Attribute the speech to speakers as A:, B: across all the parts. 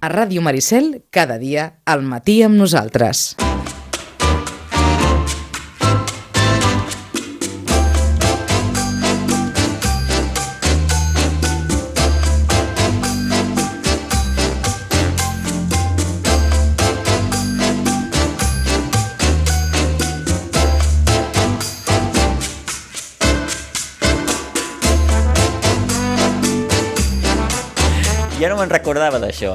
A: A Ràdio Maricel, cada dia, al matí amb nosaltres.
B: Jo no me'n recordava d'això.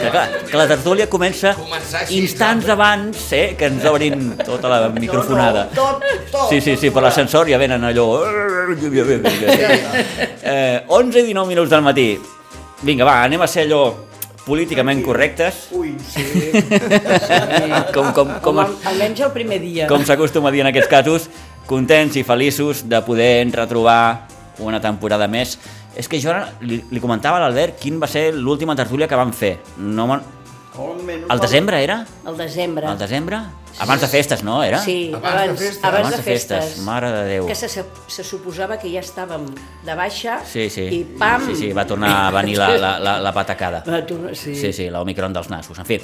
B: Que, clar, que la tertúlia comença
C: Començar així,
B: instants abans eh, que ens obrin tota la microfonada.
C: Tot, tot.
B: Sí, sí, sí, per l'ascensor ja venen allò... Eh, 11 i 19 minuts del matí. Vinga, va, anem a ser allò políticament correctes,
D: Ui, sí.
B: com, com, com,
D: al- almenys el primer dia.
B: com s'acostuma a dir en aquests casos, contents i feliços de poder retrobar una temporada més. És que jo ara li, li comentava a l'Albert quin va ser l'última tertúlia que vam fer. No me'n-
D: El
B: al desembre era?
D: El desembre.
B: Al desembre? Abans de festes, no? Era?
D: Sí,
C: Abans de
D: abans,
C: festes.
D: abans, de festes.
B: Mare de Déu.
D: Que se, se suposava que ja estàvem de baixa
B: Sí, sí.
D: i pam!
B: Sí, sí, va tornar a venir la, la, la, la patacada.
D: Va tornar, sí.
B: Sí, sí, l'Omicron dels nassos. En fi.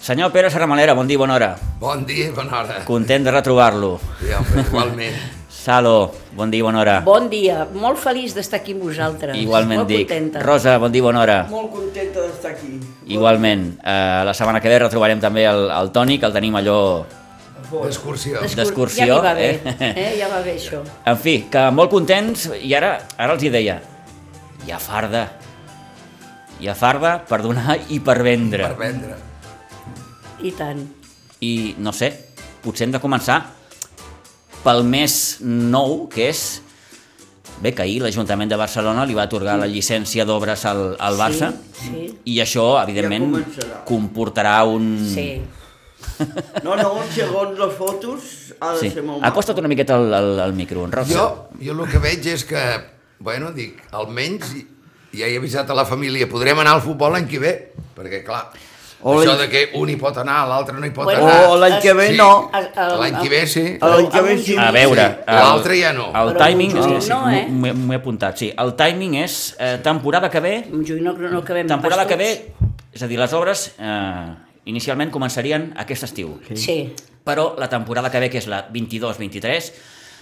B: Senyor Pere Serramalera, bon dia, bona hora.
C: Bon dia i bona hora.
B: Content de retrobar-lo.
C: Sí, home, igualment.
B: Salo, bon dia, bona hora.
D: Bon dia, molt feliç d'estar aquí amb vosaltres.
B: Igualment
D: molt
B: dic.
D: Contenta.
B: Rosa, bon dia, bona hora.
E: Molt contenta d'estar aquí.
B: Igualment. Eh, la setmana que ve retrobarem també el, el Toni, que el tenim allò...
C: D'excursió.
D: Descur-
B: d'excursió,
D: Ja hi va bé,
B: eh?
D: eh? ja va bé això.
B: En fi, que molt contents, i ara ara els hi deia, hi ha farda. Hi ha farda per donar i per vendre.
C: Per vendre.
D: I tant.
B: I, no sé, potser hem de començar pel més nou, que és... Bé, que ahir l'Ajuntament de Barcelona li va atorgar la llicència d'obres al, al Barça,
D: Sí, sí.
B: i això, evidentment,
E: començarà.
B: comportarà un...
D: Sí.
E: No, no, segons les fotos ha de
B: Sí.
E: ser molt
B: Acosta't una miqueta al, al, al micro, en Rosa.
C: Jo, jo el que veig és que, bueno, dic, almenys ja he avisat a la família, podrem anar al futbol l'any que ve, perquè, clar,
E: Ole.
C: això de que un hi pot anar, l'altre no hi pot
D: Bueno,
C: anar.
B: Oh,
E: O l'any que ve
C: Sí.
E: no.
D: El- el-
C: L'any que ve sí.
D: el-
E: L'any que ve
D: Algun
E: sí.
B: A veure,
C: Sí, l'altre ja no.
B: El
D: Però
B: timing,
D: no,
B: sí, sí,
D: no, eh?
B: m'ho he- m'ho he apuntat, sí. El timing és eh, temporada que ve,
D: En juny no, no acabem
B: temporada
D: pas
B: que ve,
D: tots.
B: és a dir, les obres eh, inicialment començarien aquest estiu.
D: Sí.
B: Però la temporada que ve, que és la 22-23,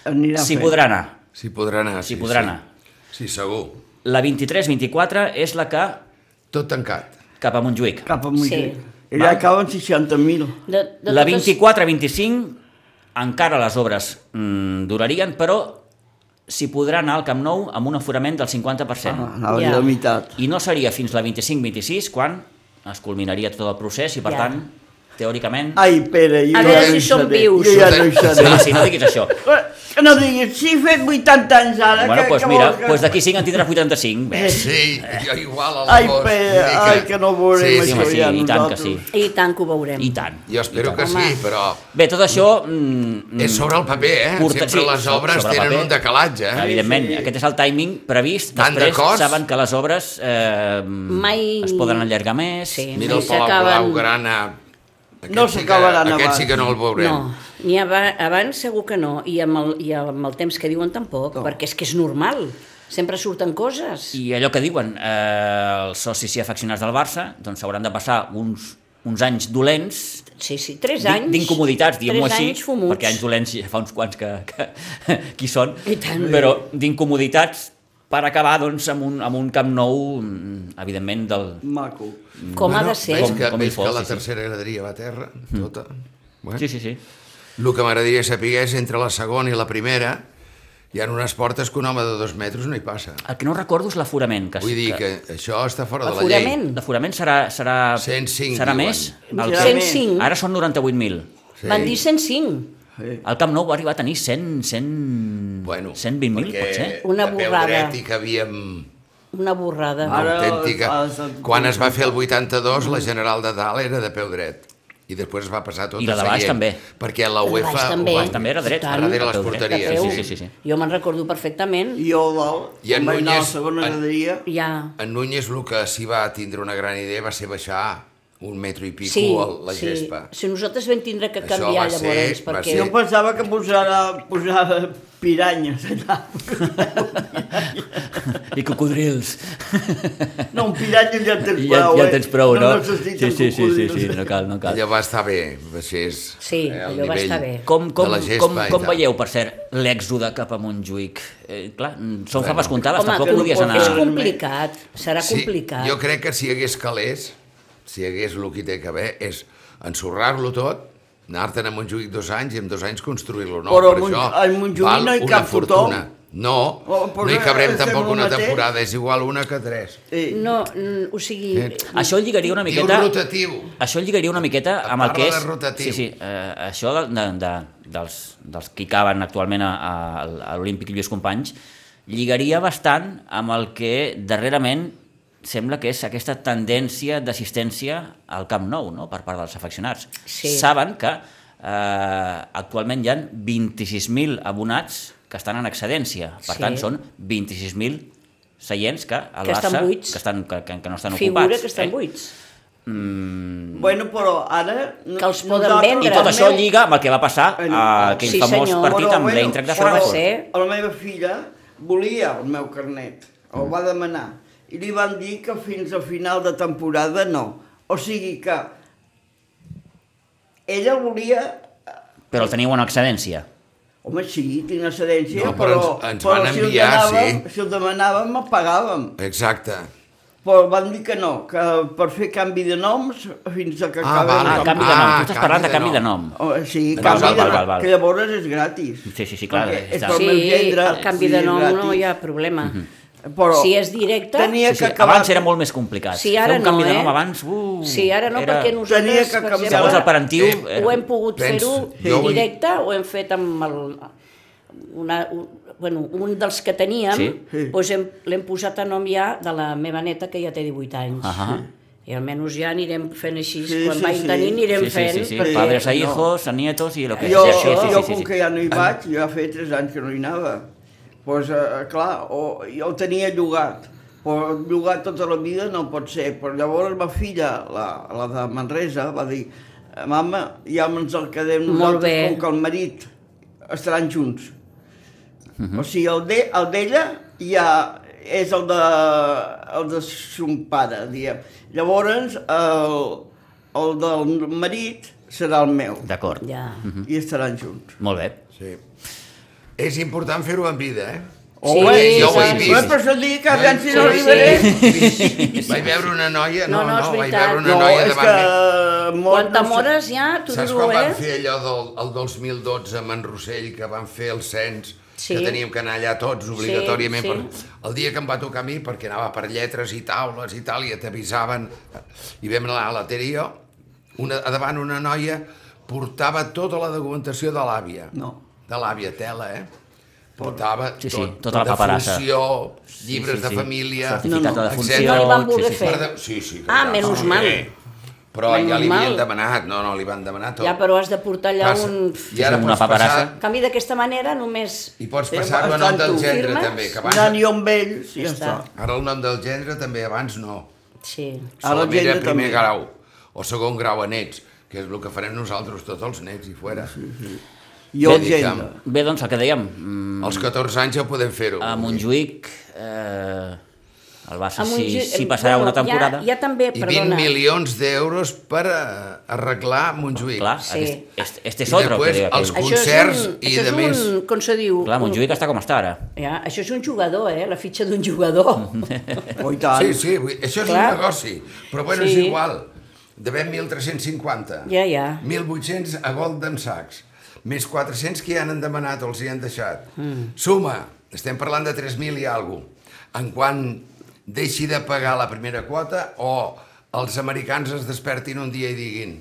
E: Anirà
B: s'hi
E: fent.
B: podrà anar.
C: S'hi podrà anar.
B: S'hi podrà anar.
C: Sí, segur.
B: La 23-24 és la que
C: Tot tancat.
B: cap a Montjuïc.
E: Cap a Montjuïc.
D: Sí.
E: Sí. Allà acaben 60.000.
D: De, de
B: La
D: totes-
B: 24-25 encara les obres mm, durarien, però s'hi podrà anar al Camp Nou amb un aforament del 50%.
E: Ah, anava
D: Ja.
E: ja. la meitat.
B: I no seria fins la 25-26 quan es culminaria tot el procés i, per
D: Ja.
B: tant, teòricament...
E: Ai, Pere, jo
D: A
E: ja
D: veure
E: no
D: si
E: hi
D: som
E: seré.
D: vius.
E: Jo ja no hi
B: Sí,
E: seré.
B: sí, no diguis això.
E: Que no diguis, si he fet 80 anys ara,
B: Bueno,
E: que,
B: doncs
E: que
B: mira,
E: vols que...
B: doncs d'aquí 5 en tindràs 85. Bé,
C: Sí, jo igual a
E: Ai,
C: l'agost.
E: Pere,
C: una mica.
E: ai, que no veurem
C: sí,
B: sí,
C: sí,
B: home,
E: això
B: sí,
E: ja
B: i tant que
E: nosaltres.
B: sí.
D: I tant que ho veurem.
B: I tant.
C: Jo espero
B: i
C: que
B: tant.
C: sí, però
B: Bé, tot això... Mm,
C: és sobre el paper, eh?
B: Curta-
C: Sempre
B: sí,
C: les
B: so-
C: obres
B: sobre el
C: tenen
B: paper.
C: un decalatge, eh?
B: Evidentment, aquest és el timing previst.
C: Tant de
B: Després
C: cos.
B: saben que les obres eh,
D: Mai-
B: es poden allargar més.
D: Sí.
C: Mira el
D: Sí,
C: Palau
D: s'acaben.
C: Blau, Grana... Aquest
E: No
C: sí que-
E: s'acabaran
C: Aquest sí
E: abans.
C: que no el veurem.
D: No, ni abans, abans segur que no, i amb el, i amb el temps que diuen tampoc, no. perquè és que és normal, sempre surten coses. I...
B: I allò que diuen eh, els socis i afeccionats del Barça, doncs s'hauran de passar uns, uns anys dolents
D: Sí, sí, tres
B: d'in-
D: anys...
B: d'incomoditats, diguem-ho
D: tres
B: així,
D: anys fumuts.
B: perquè anys dolents ja fa uns quants que, que qui són,
D: I tant.
B: però d'incomoditats per acabar doncs, amb, un, amb un camp nou, mm, evidentment, del...
E: Maco.
D: Com ha de ser.
C: Veig
B: Com-
C: que,
B: com hi
C: veig
B: fos,
C: que la
B: sí, sí.
C: tercera graderia va a terra, tota. Bueno,
B: Sí, sí, sí.
C: El que m'agradaria saber és entre la segona i la primera hi ha unes portes que un home de dos metres no hi passa.
B: El que no recordo és l'aforament. Que,
C: Vull dir que això està fora de la llei.
D: Aforament.
B: L'aforament serà, serà,
C: 105
B: serà
C: diuen.
B: més? El que-
D: 105.
B: Ara són 98.000.
C: Sí.
D: Van dir 105.
E: Sí.
B: El Camp Nou va arribar a tenir 100... 100...
C: Bueno,
B: 120.000,
C: perquè
B: potser?
D: Una
C: de peu
D: borrada.
C: dret i que havíem...
D: Una borrada.
E: Ah. Ara
C: autèntica.
E: els- els-
C: Quan es va fer el 82, la general de dalt era de peu dret. I després es va passar tot
B: I la
C: a
B: de baix
C: seient,
B: també.
C: Perquè la
D: de baix
C: UEFA... ho
D: també.
C: va-
D: Baix
B: també era dret.
D: Tant.
C: Darrere
B: De
C: les
B: peu dret, de
C: porteries.
B: peu.
C: Sí,
B: Sí, sí, sí.
D: Jo me'n recordo perfectament.
E: I jo dalt,
C: I en
E: vaig anar a la
C: Núñez-
E: segona
C: en-
E: graderia.
D: Ja,
C: En Núñez el que s'hi va tindre una gran idea va ser baixar un metro i pico
D: Sí,
C: al- la
D: sí.
C: gespa.
D: Si nosaltres vam tindre que
C: Això
D: canviar
C: va ser-
D: llavors,
C: va
D: perquè...
E: Jo
C: ser-
E: pensava que posava, posava piranyes allà.
B: I cocodrils.
E: No, un piranya ja en tens
B: I ja,
E: prou,
B: ja
E: eh?
B: tens prou, no?
E: necessiten
B: sí, sí, sí, sí, sí,
E: cocodrils.
B: no cal, no cal.
C: Allò va estar bé, baixés
D: Sí, allò va estar bé.
B: Com, com,
C: de la gespa
B: com,
C: i
B: com
C: tal.
B: veieu, per cert, l'èxode cap a Montjuïc? Eh, clar, mm, són bueno, faves comptades,
D: Home,
B: tampoc
E: que no
B: podries
E: pot
B: anar...
D: és
E: anar-
D: complicat, serà
C: Sí,
D: complicat.
C: Jo crec que si hi hagués calés, si hi hagués el que hi té que haver, és ensorrar-lo tot, anar-te'n a Montjuïc dos anys i en dos anys construir-lo. No,
E: Però a
C: per
E: Mont-
C: això
E: a Montjuïc
C: val
E: no hi
C: una
E: cap
C: fortuna.
E: tothom.
C: No,
E: Oh, però
C: no hi cabrem
E: estem
C: tampoc
E: al
C: una
E: mateix.
C: temporada, és igual una que tres.
E: Eh,
D: No, mm, o sigui...
C: Eh,
B: Això lligaria una
C: Diu
B: miqueta...
C: rotatiu.
B: Això lligaria una miqueta amb el
C: Parla
B: que és...
C: de rotatiu.
B: Sí, sí, eh, això de, de, de, dels, dels que hi caben actualment a, a, a l'Olímpic Lluís Companys, lligaria bastant amb el que darrerament sembla que és aquesta tendència d'assistència al Camp Nou no? per part dels afeccionats.
D: Sí.
B: Saben que eh, actualment hi ha 26.000 abonats que estan en excedència. Per
D: Sí.
B: tant, són 26.000 seients que a
D: Que
B: Barça...
D: estan buits.
B: Que, estan, que, que, que no estan
D: Figura
B: ocupats.
D: que estan
B: eh?
D: buits.
E: Bueno, però ara...
D: Que els poden
E: nosaltres- Eh,
D: vendre.
B: I tot
D: Realment-
B: això lliga amb el que va passar
E: Bueno,
B: a aquell
D: sí,
B: famós
D: senyor.
B: partit amb l'Eintracht de
E: això va
B: Frankfurt.
D: ser-
E: La meva filla volia el meu carnet, el va demanar, i li van dir que fins a final de temporada no. O sigui que ella volia...
B: Però el teniu en excedència.
E: Home, sí, tinc excedència,
C: No, però ens-
E: però,
C: ens van
E: si ho
C: enviar,
E: demanàvem,
C: sí.
E: si ho demanàvem, el pagàvem.
C: Exacte.
E: Però van dir que no, que per fer canvi de noms fins a que
C: Ah,
E: acabi...
C: val,
B: Ah,
E: el
B: canvi de
C: ah,
B: nom. Tu estàs
C: canvi
B: parlant de
C: de
B: canvi de
C: nom.
B: nom.
D: Oh,
E: O, sí,
B: Val,
E: canvi
B: val,
E: de
B: val, val,
E: nom,
B: val.
E: que llavors és gratis.
B: Sí, sí, sí, clar,
E: Perquè
B: és
E: és
B: tant.
E: pel
D: Sí,
E: meu gendre.
D: el canvi de
E: sí,
D: nom
E: gratis.
D: no hi ha problema.
B: Mhm.
D: Mm -hmm.
E: Però
D: Si és directe-
E: Tenia
B: Sí, sí,
E: que acabar...
B: abans era molt més complicat.
D: Sí, ara
B: Fer un canvi
D: no,
B: de
D: eh?
B: nom abans... Uh,
D: Sí, ara no,
B: era...
D: perquè
E: Tenia
D: nosaltres,
E: que
D: per
E: canviar-
D: exemple,
B: Segons el parentiu...
C: Sí.
B: era-
D: ho hem pogut
C: Penso-
D: fer-ho
C: jo vull-
D: directe, ho hem fet amb el, una, un, bueno, un dels que teníem, sí.
B: Sí.
E: Sí.
D: doncs hem- l'hem posat a nom ja de la meva neta, que ja té 18 anys.
B: Ahà.
D: I almenys ja anirem fent així,
E: Sí,
D: sí, quan
E: sí,
D: sí, vagin
E: sí.
D: sí. tenint anirem
B: Sí, sí,
D: fent.
B: sí, sí.
E: perquè-
B: Padres a
E: no.
B: hijos, a nietos i el que...
E: Jo,
B: sí,
E: sí,
B: sí, sí,
E: jo
B: sí,
E: com
B: sí,
E: que
B: sí.
E: ja no hi vaig, ja feia tres anys que no hi anava. Pues, eh, clar, o, jo el tenia llogat, però llogat tota la vida no pot ser. Però llavors ma filla, la, la de Manresa, va dir "Eh, mama, ja ens el quedem
D: Molt
E: nosaltres,
D: bé.
E: com que el marit estaran junts.
B: Mhm.
E: O sigui, el de- el d'ella ja és el de, el de son pare, diguem. Llavors, el, el del marit serà el meu
B: D'acord.
D: Ja.
E: Mhm. i estaran junts.
B: Molt bé.
C: Sí. És important fer-ho en vida, eh?
D: Sí,
C: bé, jo ho he
D: sí,
C: vist.
E: Bueno, però això et dic que aviam si
D: Sí,
E: no
D: sí.
E: arribaré.
C: Vaig veure una noia, no,
D: No, no,
C: no,
D: és
C: vaig
D: veritat.
C: veure una
E: No,
C: noia
E: és que... eh,
C: davant meu.
E: molt
D: Quan
E: no sé.
D: t'amores ja, t'ho
C: Saps
D: diu,
C: quan van
D: eh?
C: fer allò del el 2012 a Manrosell, que van fer el cens,
D: Sí.
C: que teníem que anar allà tots obligatòriament?
D: sí.
C: Per... El dia que em va tocar a mi, perquè anava per lletres i taules i tal, i ja t'avisaven, i vam anar a la Tere i jo, una, a davant una noia portava tota la documentació de l'àvia.
E: No.
C: De l'àvia, tela, eh? Portava
B: Sí, sí,
C: tot,
B: tota la paperassa.
C: defunció, llibres
B: sí,
C: de
B: sí.
C: família...
B: Certificat
E: No,
B: de
E: no,
B: defunció...
D: No li van voler
B: sí, sí, sí.
D: fer.
C: Per de- Sí, sí. que
D: Ah,
C: ja,
D: menys
C: sí.
D: mal.
C: Però
D: Menys
C: ja li
D: mal.
C: havien demanat, no, no, li van demanar tot.
D: Ja, però has de portar allà
C: Passa.
D: un...
C: I ara
B: Sí, una
C: pots
B: paperassa.
C: passar...
D: En canvi, d'aquesta manera només...
C: I pots
E: Sí,
C: passar-ho a
E: bastant
C: nom del
E: tu.
C: gendre,
D: Firmes?
C: també. Que
E: Anant
C: abans,
E: jo amb ells, ja,
D: Ja
E: està.
D: està.
C: ara el nom del gendre també, abans no.
D: Sí.
E: Ara el
C: Solament era
E: gendre
C: primer
E: també.
C: grau o segon grau a nets, que és el que farem nosaltres, tots els nets i fora.
E: Jo el
C: Bé,
E: gendre.
C: diguem.
B: Bé, doncs, el que dèiem, mm,
C: Als 14 anys ja podem fer-ho.
B: a Montjuïc... Eh, el Barça,
D: A
B: si,
D: Montjuïc-
B: si passarà
D: eh, bueno,
B: una temporada...
D: Ja, ja també,
C: I 20
D: perdona.
C: milions d'euros per eh, arreglar Montjuïc.
B: Clar,
D: Sí.
B: aquest, este, este és
C: I
B: otro.
C: després
B: que deia
C: els
B: aquell.
D: Això és
C: concerts
D: un-
C: i
D: això és
C: de més.
D: un- Com se diu?
B: Clar,
D: Un-
B: Montjuïc està com està ara.
D: Ja, això és un jugador, eh? La fitxa d'un jugador.
E: Oh, i tant.
C: Ah, Sí, sí, vull- això és
D: Clar.
C: un negoci, però bueno,
D: Sí.
C: és igual. Devem 1.350.
D: Ja, ja.
C: 1.800 a Golden Sachs. Més 400 que ja n'han demanat o els hi han deixat. Mm. Suma, estem parlant de 3.000 i alguna En quan deixi de pagar la primera quota o els americans es despertin un dia i diguin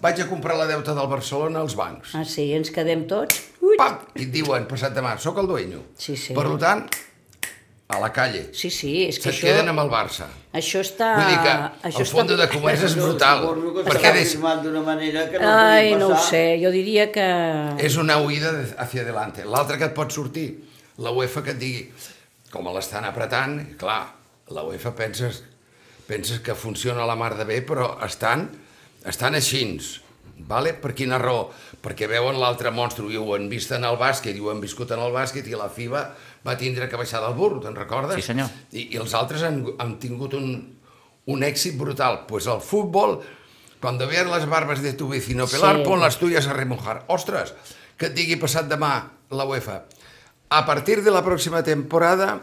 C: vaig a comprar la deuta del Barcelona als bancs.
D: Ah, sí, ens quedem tots. Ui.
C: Pam! I et diuen, passat demà, sóc el dueño.
D: Sí, sí.
C: Per tant, a la calle.
D: Sí, sí, és que
C: Se't
D: això,
C: queden amb el Barça.
D: això està...
C: Vull dir que
D: això
C: el fons de comerç és brutal.
E: Suposo que
C: Perquè
E: s'ha
C: des,
E: firmat d'una manera que no
D: Ai,
E: podia
D: no ho
E: passar.
D: sé, jo diria que...
C: és una huida de- hacia adelante. L'altra que et pot sortir, la UEFA que et digui, com l'estan apretant, clar, la UEFA penses, penses que funciona la mar de bé, però estan, estan així. Vale? Per quina raó? Perquè veuen l'altre monstre, i ho han vist en el bàsquet, i ho han viscut en el bàsquet, i la FIBA va tindre que baixar del burro, te'n recordes?
B: Sí, senyor.
C: I, i els altres han, han tingut un, un èxit brutal. Doncs pues el futbol, quan vean les barbes de tu vecino pelar,
D: Sí.
C: pon les tuyes a remojar. Ostres, que et digui passat demà la UEFA. A partir de la próxima temporada,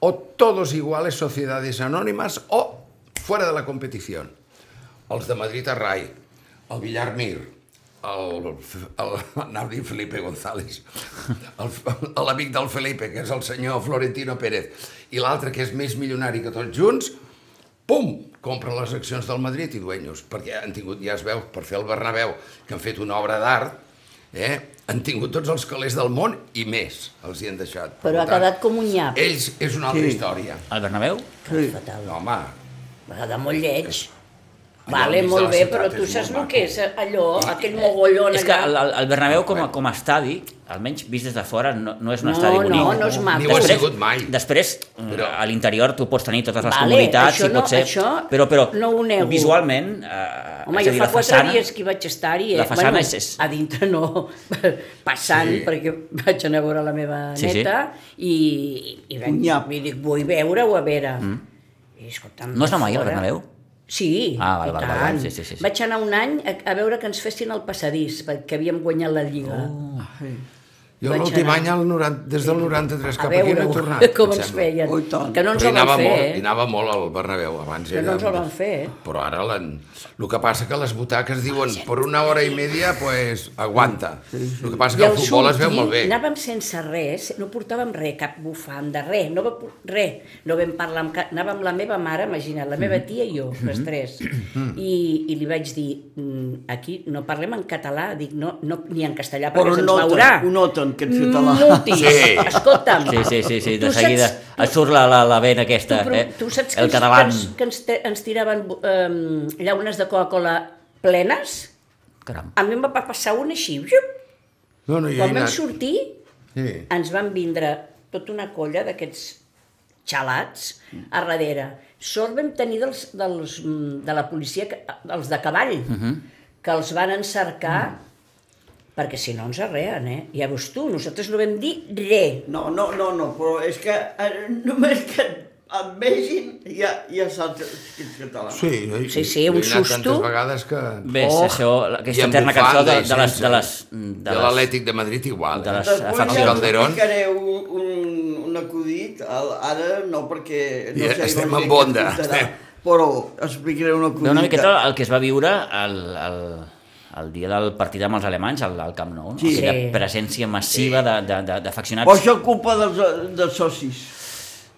C: o todos iguales sociedades anónimas o fuera de la competición. Els de Madrid a Rai, el Villar Mir, el, el, anava a dir Felipe González, el- l'amic del Felipe, que és el senyor Florentino Pérez, i l'altre, que és més milionari que tots junts, pum, compren les accions del Madrid i duenyos, perquè han tingut, ja es veu, per fer el Bernabéu, que han fet una obra d'art, eh? han tingut tots els calés del món i més, els hi han deixat. Per
D: Però ha
C: tant,
D: quedat com un nyap.
C: Ells és una altra
E: Sí.
C: sí. història.
B: Al Bernabéu?
E: Sí.
D: Fatal.
C: No, home,
D: Va quedar molt lleig.
C: al
D: Vale,
C: mig de
D: molt
C: la
D: bé,
C: ciutat
D: però
C: és
D: tu
C: molt
D: saps el
C: maco.
D: que és allò, aquell mogollon
B: És que el,
D: allà.
B: el el Bernabéu com a, com a estadi, almenys vist des de fora, no, no és un
D: No,
B: estadi
D: no,
B: bonic.
D: no és maco. Ni ho ha
C: sigut mai.
B: Després,
C: Però-
B: però... a l'interior tu pots tenir totes les
D: Vale,
B: comunitats,
D: això
B: si
D: no-
B: pot ser,
D: això
B: però, però
D: no ho nego.
B: visualment, eh,
D: Home,
B: és a
D: jo
B: dir,
D: fa
B: la
D: quatre
B: façana...
D: dies que hi vaig estar-hi, eh?
B: La façana és- és-
D: A dintre no, passant,
C: Sí.
D: sí. perquè vaig anar a veure la meva
B: Sí, sí.
D: neta i, i vaig,
E: Nyap.
D: i dic, vull veure-ho a veure. Mm. I, escolta'm,
B: No és la Maia, el
D: fora.
B: Bernabéu?
D: Sí,
B: Ah, val,
D: i
B: val, val,
D: tant.
B: sí, sí, sí, sí.
D: Vaig anar un any a, a veure que ens fessin el passadís, perquè havíem guanyat la Lliga.
C: Jo
D: Vaig
C: l'últim
D: anar.
C: any, al 90, des del 93
D: a
C: cap aquí, no
D: veure
C: he tornat.
D: com
C: em
D: ens
C: sembla.
D: feien.
E: Oh, i tant.
D: que no ens
C: Però
D: ho
C: hi
D: van
C: anava
D: fer,
C: molt,
D: eh?
C: hi anava molt al Bernabéu, abans
D: Que
C: era...
D: no ens el van fer, Ah, eh?
C: Però ara l'han... El que passa que les butaques diuen per una hora i media, pues, aguanta. El que passa
D: I
C: que el
D: al
C: futbol es veu
D: sortir
C: molt bé.
D: Anàvem sense res, no portàvem res, cap bufanda, res, no, va, por- res. no vam parlar amb cap... Anàvem la meva mare, imagina't, la meva tia i jo,
B: Mhm.
D: les tres. I, I li vaig dir, "Mm, aquí no parlem en català, dic, no, no ni en castellà,
E: Però
D: perquè se'ns veurà. Mm,
E: noten, ho noten, que ets català.
D: Notis,
C: Sí.
D: escolta'm.
B: Sí, sí, sí, sí de
D: tu
B: seguida
D: saps-
B: et surt la, la, la vena
D: Tu,
B: aquesta,
D: però,
B: eh?
D: tu saps que,
B: el
D: ens, que,
B: català...
D: ens, que ens, te, ens tiraven um, llaunes de Coca-Cola plenes?
B: Caram.
D: A mi em va pa- passar una així. Xup,
C: No, no, jo
D: quan
C: he
D: vam
C: anat.
D: sortir,
C: Sí.
D: ens van vindre tota una colla d'aquests xalats a darrere. Sort vam tenir dels, dels, mm, de la policia, que- dels de cavall,
E: Mhm.
D: que els van encercar, perquè si no ens arreen, eh? Ja veus tu, nosaltres no vam dir res.
E: No, no, no, no, però és que eh, només que et vegin ja, ja saps que ets català.
C: Sí, jo hi-
D: Sí, sí,
C: jo
D: un
C: he anat
D: susto.
C: tantes vegades que...
B: Bé, oh. això, la-
C: I
B: aquesta
C: amb
B: eterna cançó de,
C: bufanda i
B: de les... De les,
C: sense. De l'Atlètic de Madrid igual.
B: de
C: eh?
B: les- Facu
E: Després ja Doncs us
C: Calderón.
E: explicaré un, un, un acudit, al- ara no perquè... No
C: Ja
E: sé,
C: estem
E: no
C: en
E: sé què
C: bonda,
E: escoltarà,
C: estem.
E: Però explicaré un acudit.
B: Bé, una miqueta el que es va viure el, el, el dia del partit amb els alemanys al, al Camp Nou, no?
E: Sí.
B: Aquella
D: Sí.
B: presència massiva de, de, de,
E: Però
B: d'afeccionats.
E: això culpa dels, dels socis.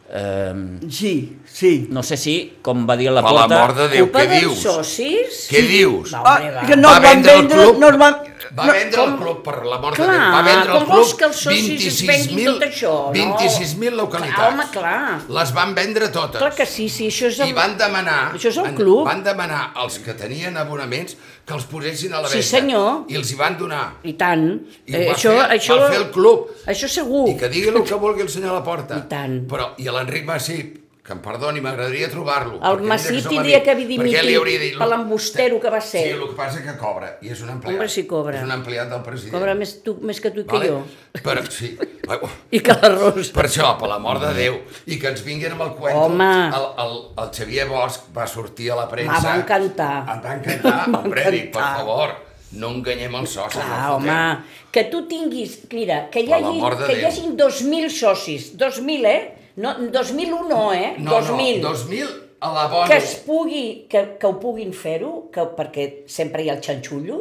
B: Eh,
E: Sí, sí.
B: no sé si, com va dir la
C: Per la
B: Porta...
C: mort de Déu,
D: Culpa
C: què
D: dels
C: dius?
D: socis?
C: Què dius?
D: Va,
E: Ah,
D: home, va.
E: que no
C: Va
E: el van
C: vendre el
E: vendre,
C: club?
E: no el van...
C: Va
E: no,
C: vendre el club, per la mort de
D: Clar,
C: Déu. Va vendre el
D: com
C: club
D: vols que els socis es venguin tot això, no?
C: 26.000 localitats.
D: Clar, home, clar.
C: Les van vendre totes.
D: Clar que sí, sí, això és...
C: I van demanar...
D: Això és el
C: en-
D: club.
C: Van demanar als que tenien abonaments que els posessin a la
D: Sí,
C: venda.
D: senyor.
C: I els hi van donar.
D: I tant.
C: I
D: Eh,
C: ho va
D: això,
C: fer-
D: això,
C: va fer el club.
D: Això segur.
C: I que digui el que vulgui el senyor a la porta.
D: Uh. I tant.
C: Però, i a l'Enric Massip, que em perdoni, m'agradaria trobar-lo.
D: El
C: perquè mira
D: Massip
C: som
D: tindria
C: amics.
D: que haver
C: Perquè li hauria
D: dimitit
C: dit...
D: per l'embustero que va
C: Sí,
D: ser.
C: el que passa és que cobra, i és un empleat.
D: Home, sí, cobra.
C: És un empleat del president.
D: Cobra més, tu, més que tu i que jo.
C: Però, sí. Ai, uf.
D: I que l'arròs.
C: Per això, per l'amor de Déu, i que ens vinguin amb el cuento.
D: Home.
C: El, el, el Xavier Bosch va sortir a la premsa.
D: Ah, va encantar.
C: Em va encantar.
D: Va
C: Hombre, dic, per
D: encantar.
C: favor, no enganyem els socis.
D: Clar,
C: no
D: Ah, home,
C: fotem.
D: que tu tinguis... Mira, que hi
C: Per
D: hagi,
C: l'amor de
D: que hi
C: Déu.
D: hagin 2.000 socis. 2.000, eh? No, 2001 no, eh?
C: No,
D: 2.000.
C: no, 2.000 a la bona.
D: que es pugui, que, que ho puguin fer-ho, que- perquè sempre hi ha el xanxullo,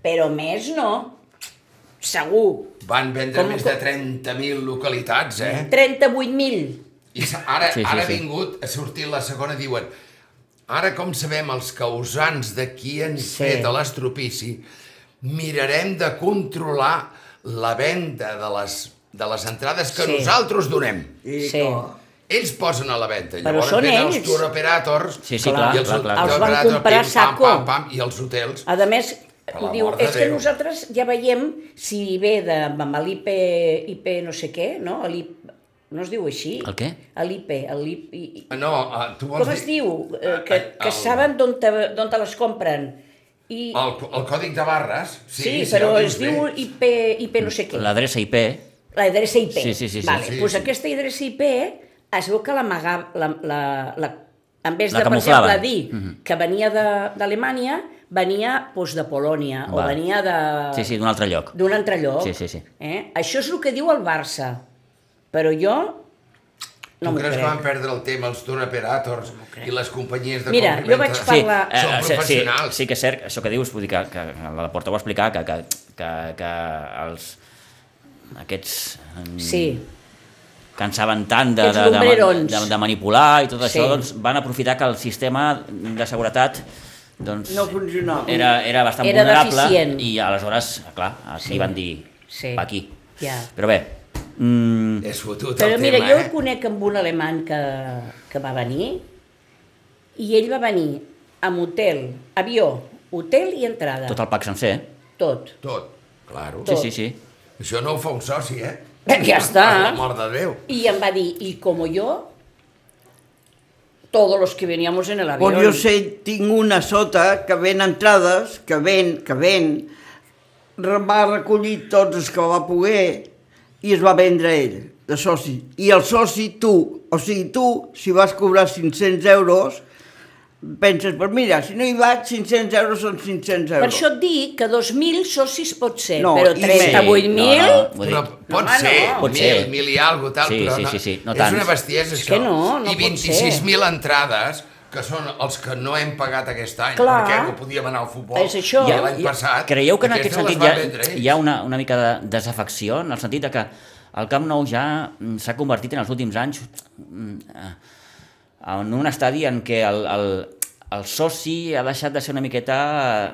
D: però més no, segur.
C: Van vendre
D: Com-
C: més de 30.000 localitats, eh?
D: 38.000.
C: I s- ara,
B: Sí, sí,
C: sí, sí, ara ha
B: sí.
C: vingut, ha sortit la segona, diuen ara com sabem els causants de qui han sí.
D: Sí.
C: fet a l'estropici, mirarem de controlar la venda de les, de les entrades que
D: Sí.
C: sí. nosaltres donem.
E: I
D: Sí.
E: com?
C: Ells posen a la venda.
D: Però són
C: venen
D: ells.
C: els tour operators
B: Sí, sí, clar,
C: i els,
B: clar, clar.
C: tour
D: Els van
C: operators,
D: comprar
C: pim,
D: saco.
C: Pam, pam, pam, I els hotels.
D: A més,
C: Per l'amor
D: diu,
C: de
D: és que
C: Déu."
D: nosaltres ja veiem si ve de, amb l'IP IP no sé què, no? L'IP No es diu així?
B: El què?
D: L'IP, l'IP...
C: No, uh, tu vols
D: Ah. Com es
C: dir... Ah,
D: diu? Eh, Que, que
C: el-
D: saben d'on te, d'on te les compren. I,
C: El, el còdic de barres... Sí,
D: sí,
C: si
D: però
C: el dius
D: es diu
C: bé.
D: IP, IP no sé què.
B: L'adreça IP,
D: L'adreça IP.
B: Sí, sí, sí, sí.
D: Vale,
C: Sí,
D: doncs
C: sí.
D: aquesta adreça IP es veu que l'amagava, la, la, la, en vez
B: La
D: de, per
B: camuflaven. Mhm.
D: exemple, dir que venia de- d'Alemanya, venia doncs, de Polònia o
B: Val.
D: venia de-
B: sí, sí, d'un altre lloc.
D: d'un altre lloc.
B: Sí, sí, sí.
D: Eh? Això és el que diu el Barça, però jo no
C: tu
D: m'ho
C: creus
D: crec.
C: que van perdre el tema els tour operators i les companyies de
D: Mira,
C: comprimenta?
D: jo vaig
B: Sí,
D: parlar-
B: eh,
C: Són
B: sí, sí,
C: professionals.
B: sí que és cert, això que dius, vull dir que, que la porta ho va explicar, que, que, que, que els, aquests mm,
D: Sí,
B: que en saben tant de, de,
D: Aquests
B: de,
D: lumbrerons.
B: de, de manipular i tot
D: Sí.
B: això, doncs van aprofitar que el sistema de seguretat doncs,
E: No funcionava.
B: era, era bastant
D: Era
B: vulnerable
D: deficient.
B: i aleshores, clar, aquí
D: Sí.
B: van dir
D: Sí.
B: va aquí.
D: Ja.
B: Però bé, mm,
C: És fotut
D: Però
C: el
D: mira,
C: tema,
D: jo el
C: eh?
D: conec amb un alemany que, que va venir i ell va venir amb hotel, avió, hotel i entrada.
B: tot el pack sencer. eh?
D: Tot.
C: Tot,
B: Sí,
C: claro.
D: Tot.
B: sí, sí.
C: Això no ho fa un soci, eh?
D: Ja està.
C: Per l'amor de Déu.
D: I em va dir, i com jo, todos los que veníamos en el avión.
E: Bueno, jo sé, tinc una sota que ven entrades, que ven, que ven, va recollir tots els que va poder i es va vendre ell, de soci. I el soci, tu, o sigui, tu, si vas cobrar 500 euros, penses, pues mira, si no hi vaig, 500 euros són 500 euros.
D: Per això et dic que 2.000 socis pot ser,
E: No,
D: però
E: i
D: 38.000...
B: Sí, no, no, vull
C: Però
B: dir,
C: pot
D: home,
C: ser,
D: no.
B: Pot
C: mil,
B: ser.
C: mil i algo, tal,
B: Sí,
C: però
B: sí,
C: no,
B: sí, sí, no
C: és
B: tants.
C: una bestiesa, això.
D: que no, no
C: I
D: pot
C: 26.000 entrades, que són els que no hem pagat aquest any,
D: Clar.
C: perquè no podíem anar al futbol
D: És això.
C: i
D: Ja-
C: l'any passat.
B: Creieu que en aquest
C: aquestes les
B: sentit hi
C: van
B: ha,
C: vendre ells.
B: hi ha una, una mica de desafecció, en el sentit de que el Camp Nou ja mm, s'ha convertit en els últims anys mm, eh, en un estadi en què el, el, el soci ha deixat de ser una miqueta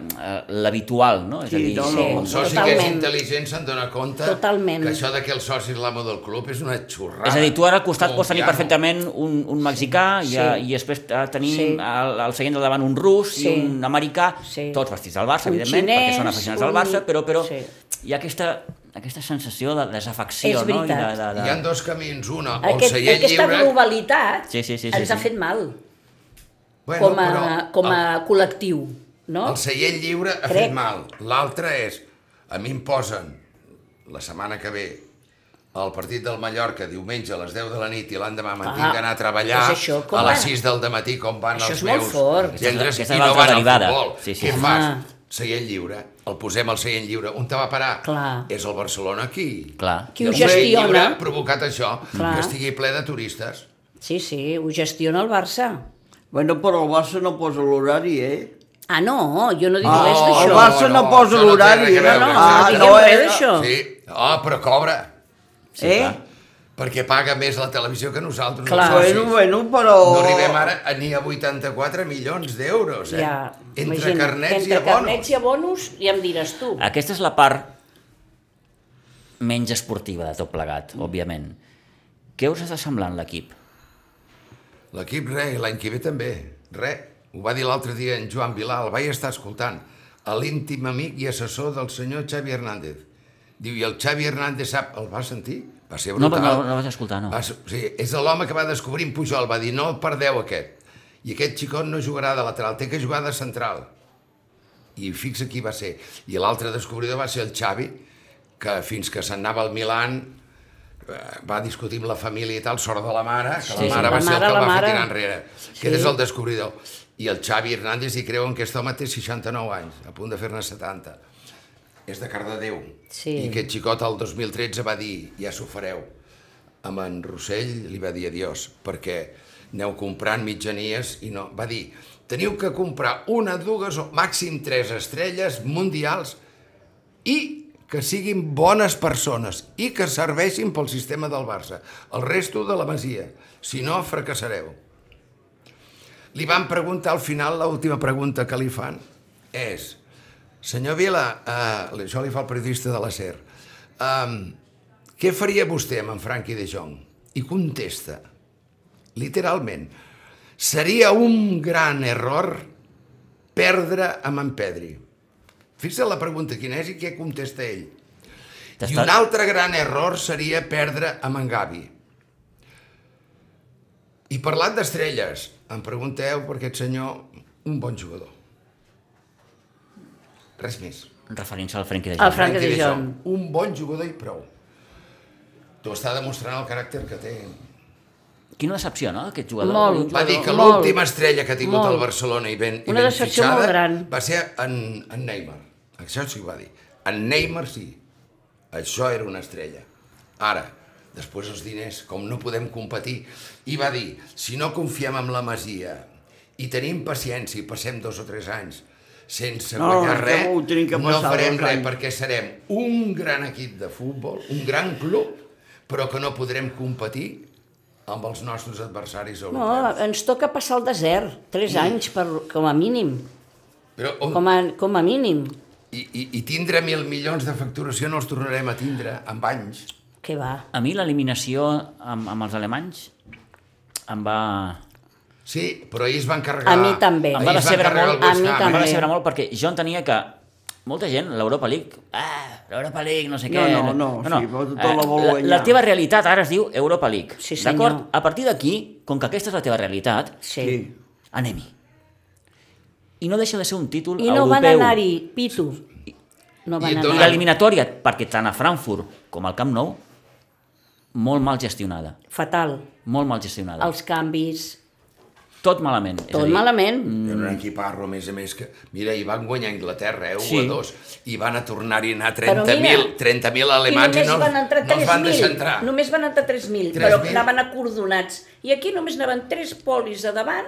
B: eh, l'habitual, no? És
E: Sí, no, no,
D: Sí.
C: El soci que és
D: Totalment.
C: intel·ligent se'n dona compte
D: Totalment.
C: que això de que el soci és l'amo del club és una xorrada.
B: És a dir, tu ara al costat
C: Com
B: pots tenir
C: piano.
B: perfectament un, un mexicà i, a,
D: Sí.
B: i després a tenir
D: Sí.
B: al, al seient del davant un rus
D: Sí.
B: i un americà,
D: Sí.
B: tots vestits del Barça,
D: Un
B: evidentment, perquè són
D: xinès,
B: aficionats
D: un-
B: al Barça, però, però
D: Sí.
B: hi ha aquesta, aquesta sensació de
D: És
B: desafecció, no? I de,
D: veritat.
B: de, de...
C: Hi ha dos camins, una, o el
D: Aquest,
C: seient
D: aquesta
C: lliure...
D: globalitat
B: Sí, sí, sí, sí,
D: ens ha
B: sí.
D: fet mal
C: Bueno,
D: com a,
C: però
D: com a
C: el-
D: col·lectiu, no?
C: El seient lliure ha
D: Oh. Crec.
C: fet mal. L'altre és, a mi em posen la setmana que ve el partit del Mallorca diumenge a les 10 de la nit i l'endemà me'n
D: Ah,
C: tinc d'anar a treballar
D: és això, com
C: a
D: va?
C: les 6 del matí com van
D: Això
C: els
D: és molt
C: meus
D: fort.
C: gendres
B: Aquesta
C: i
B: és
C: no
B: l'altra
C: van al
B: derivada.
C: futbol.
B: Sí, sí.
C: Què
D: Ah.
C: fas? Seient lliure, el posem al seient lliure. On te va parar?
D: Clar.
C: És el Barcelona aquí.
B: Clar.
D: Qui ho
C: El seient
D: gestiona?
C: lliure ha provocat això,
D: Clar.
C: que estigui ple de turistes.
D: Sí, sí, ho gestiona el Barça.
E: Bueno, però el Barça no posa l'horari, eh?
D: Ah, no, jo no dic
E: Ah,
D: res
E: el
D: d'això.
E: Barça no,
C: no,
E: posa
C: això no té
E: l'horari.
C: res a veure,
D: No, no,
C: Ah,
D: no,
C: no,
D: no res
E: eh?
D: d'això.
C: Sí. Ah, però cobra.
B: Sí,
E: eh?
B: clar.
C: Perquè paga més la televisió que nosaltres.
D: Clar.
C: els socis.
E: Bueno, bueno, però...
C: No arribem ara a ni a 84 milions d'euros, eh?
D: Ja,
C: entre
D: imagina't,
C: carnets i
D: entre
C: abonos. Ah,
D: carnets i abonos, ja em diràs tu.
B: Aquesta és la part menys esportiva de tot plegat, òbviament. Què us està semblant l'equip?
C: L'equip re, i l'any que ve també, re. Ho va dir l'altre dia en Joan Vilà, el vaig estar escoltant, a l'íntim amic i assessor del senyor Xavi Hernández. Diu, i el Xavi Hernández sap, el va sentir? Va ser
B: No, no,
C: brutal. Ah,
B: no, no vas escoltar, no.
C: Va, ser- o sigui, és l'home que va descobrir en Pujol, va dir, no el perdeu aquest. I aquest xicot no jugarà de lateral, té que jugar de central. I fixa qui va ser. I l'altre descobridor va ser el Xavi, que fins que se'n anava al Milan eh, va discutir amb la família i tal, sort de la mare, que
B: Sí, sí.
C: la mare
D: La
C: va ser
D: mare,
C: el que
D: la
C: el va
D: mare.
C: fer tirar enrere. Que és el descobridor. I el Xavi Hernández hi creuen que aquest home té 69 anys, a punt de fer-ne 70. És de Cardedeu.
D: Sí.
C: I aquest xicot el 2013 va dir, ja s'ho fareu. Amb en Rossell li va dir adiós, perquè aneu comprant mitjanies i no... Va dir, teniu que comprar una, dues o màxim tres estrelles mundials i que siguin bones persones i que serveixin pel sistema del Barça, el resto de la Masia. Si no, fracassareu. Li van preguntar al final, l'última pregunta que li fan és Senyor Vila, eh, això li fa el periodista de la SER, eh, què faria vostè amb en Frankie de Jong? I contesta, literalment, seria un gran error perdre amb en Pedri. Fixa't la pregunta quina és i què contesta ell. I
B: T'està-
C: un altre gran error seria perdre amb en Gavi. I parlant d'estrelles, em pregunteu per aquest senyor un bon jugador. Res més.
B: Referint-se al Frenkie de
D: El
B: Jong.
D: Frank de
C: Frankie de
D: Jong.
C: Jong, Un bon jugador i prou. T'ho està demostrant el caràcter que té.
B: Quina decepció, no?, aquest jugador.
D: Molt.
C: Va dir que
D: Molt.
C: l'última estrella que ha tingut
D: Molt.
C: el Barcelona i ben, i
D: Una
C: ben
D: decepció molt
C: fitxada
D: gran.
C: va ser en, en Neymar. Això sí que ho va dir. En Neymar sí. Això era una estrella. Ara, després els diners, com no podem competir. I va dir, si no confiem en la Masia i tenim paciència i passem dos o tres anys sense
E: No,
C: guanyar
E: que
C: res,
E: ho tenim que
C: no
E: passar
D: eh,
C: farem
E: dos
C: res
E: anys.
C: perquè serem un gran equip de futbol, un gran club, però que no podrem competir amb els nostres adversaris
D: No,
C: europeus.
D: ens toca passar el desert, tres anys per, com a mínim,
C: Però on,
D: com a, com a mínim.
C: i, i, I tindre mil milions de facturació no els tornarem a tindre amb anys.
D: Què va?
B: A mi l'eliminació amb, amb els alemanys em va...
C: Sí, però ahir es van carregar...
D: A mi també.
B: Em
C: ahir
B: va
C: Eh, es van
B: decebre
C: carregar
B: molt,
C: el
D: a
C: West
D: mi
C: Ham. eh?
B: em va
D: també.
B: decebre molt perquè jo entenia que molta gent, l'Europa League, ah, l'Europa League, no sé
E: No,
B: què...
E: no, no, sí, però tot la vol
B: la, la
E: guanyar.
B: teva realitat ara es diu Europa League.
D: Sí, senyor.
B: D'acord? A partir d'aquí, com que aquesta és la teva realitat,
D: Sí.
B: anem-hi. I no deixa de ser un títol
D: I
B: europeu.
D: no van anar-hi, Pitu. No
C: I
D: van
B: I
C: dona-
D: anar-hi.
B: l'eliminatòria, perquè tant a Frankfurt com al Camp Nou, molt mal gestionada.
D: Fatal.
B: Molt mal gestionada.
D: Els canvis,
B: Tot malament. és a
D: tot
B: dir,
D: malament.
C: Era un equiparro, a més a més, que... Mira, hi van guanyar a Anglaterra, eh, 1
B: Sí.
C: a 2, i van a tornar-hi a anar
D: Però mira,
C: 30.000 30 alemanys
D: I
C: i no,
D: només van
C: els-
D: entrar
C: no els van deixar
D: 3.000,
C: entrar.
D: Només van entrar
C: 3.000.
D: 3.000, però anaven acordonats. I aquí només anaven tres polis a davant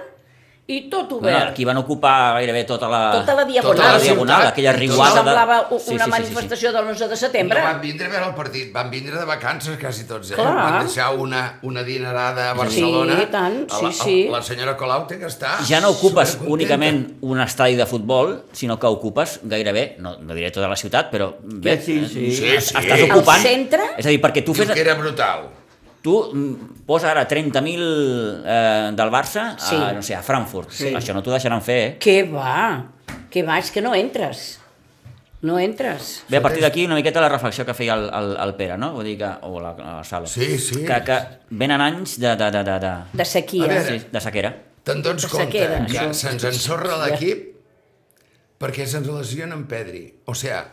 D: i tot
B: Bueno,
D: obert.
B: aquí van ocupar gairebé tota la...
D: Tota la diagonal.
B: Tota la
D: Tota la
B: diagonal,
C: ciutat.
B: aquella
C: Tot
D: Igual
B: riuada...
D: semblava u- una
B: Sí, sí, sí, sí, sí.
D: manifestació de l'11 de
C: No
D: setembre.
C: van vindre a veure el partit, van vindre de vacances quasi tots, eh?
D: Clar.
C: Van deixar una, una dinerada a Barcelona.
D: Sí, i tant,
C: A la,
D: sí, sí.
C: a La senyora Colau té que estar
B: Ja no ocupes
C: supercontenta.
B: únicament un estadi de futbol, sinó que ocupes gairebé, no, no diré tota la ciutat, però bé,
E: Sí, sí, sí.
B: es-
C: Sí,
B: estàs
C: sí.
B: ocupant...
D: El centre?
B: És a dir, perquè tu
C: Diu
B: fes...
C: que era brutal.
B: Tu mm, posa ara 30.000 eh, del Barça a,
D: Sí.
B: no sé, a Frankfurt.
E: Sí.
B: Això no t'ho deixaran fer, eh?
D: Què va? Què va? És que no entres. No entres.
B: Bé, a partir d'aquí una miqueta la reflexió que feia el, el, el Pere, no? Vull dir que, o la, la Sala.
C: Sí, sí.
B: Que, que venen anys de, de, de, de, de,
D: De sequia.
C: A veure,
B: sí, de sequera.
C: Te'n dones
D: De
C: compte
D: sequera,
C: que
D: això.
C: se'ns ensorra l'equip perquè se'ns lesiona en Pedri. O sea,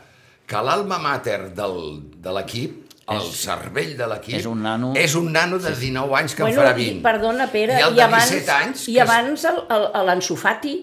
C: que l'alma mater del, de l'equip, el cervell de l'equip,
B: és un nano-
C: és un nano de 19 anys que en
D: bueno,
C: farà
D: i,
C: 20.
D: perdona, Pere,
C: I el
D: i
C: de
D: abans,
C: 17 anys...
D: i
C: que es-
D: abans el- el- l'Ansu Fati,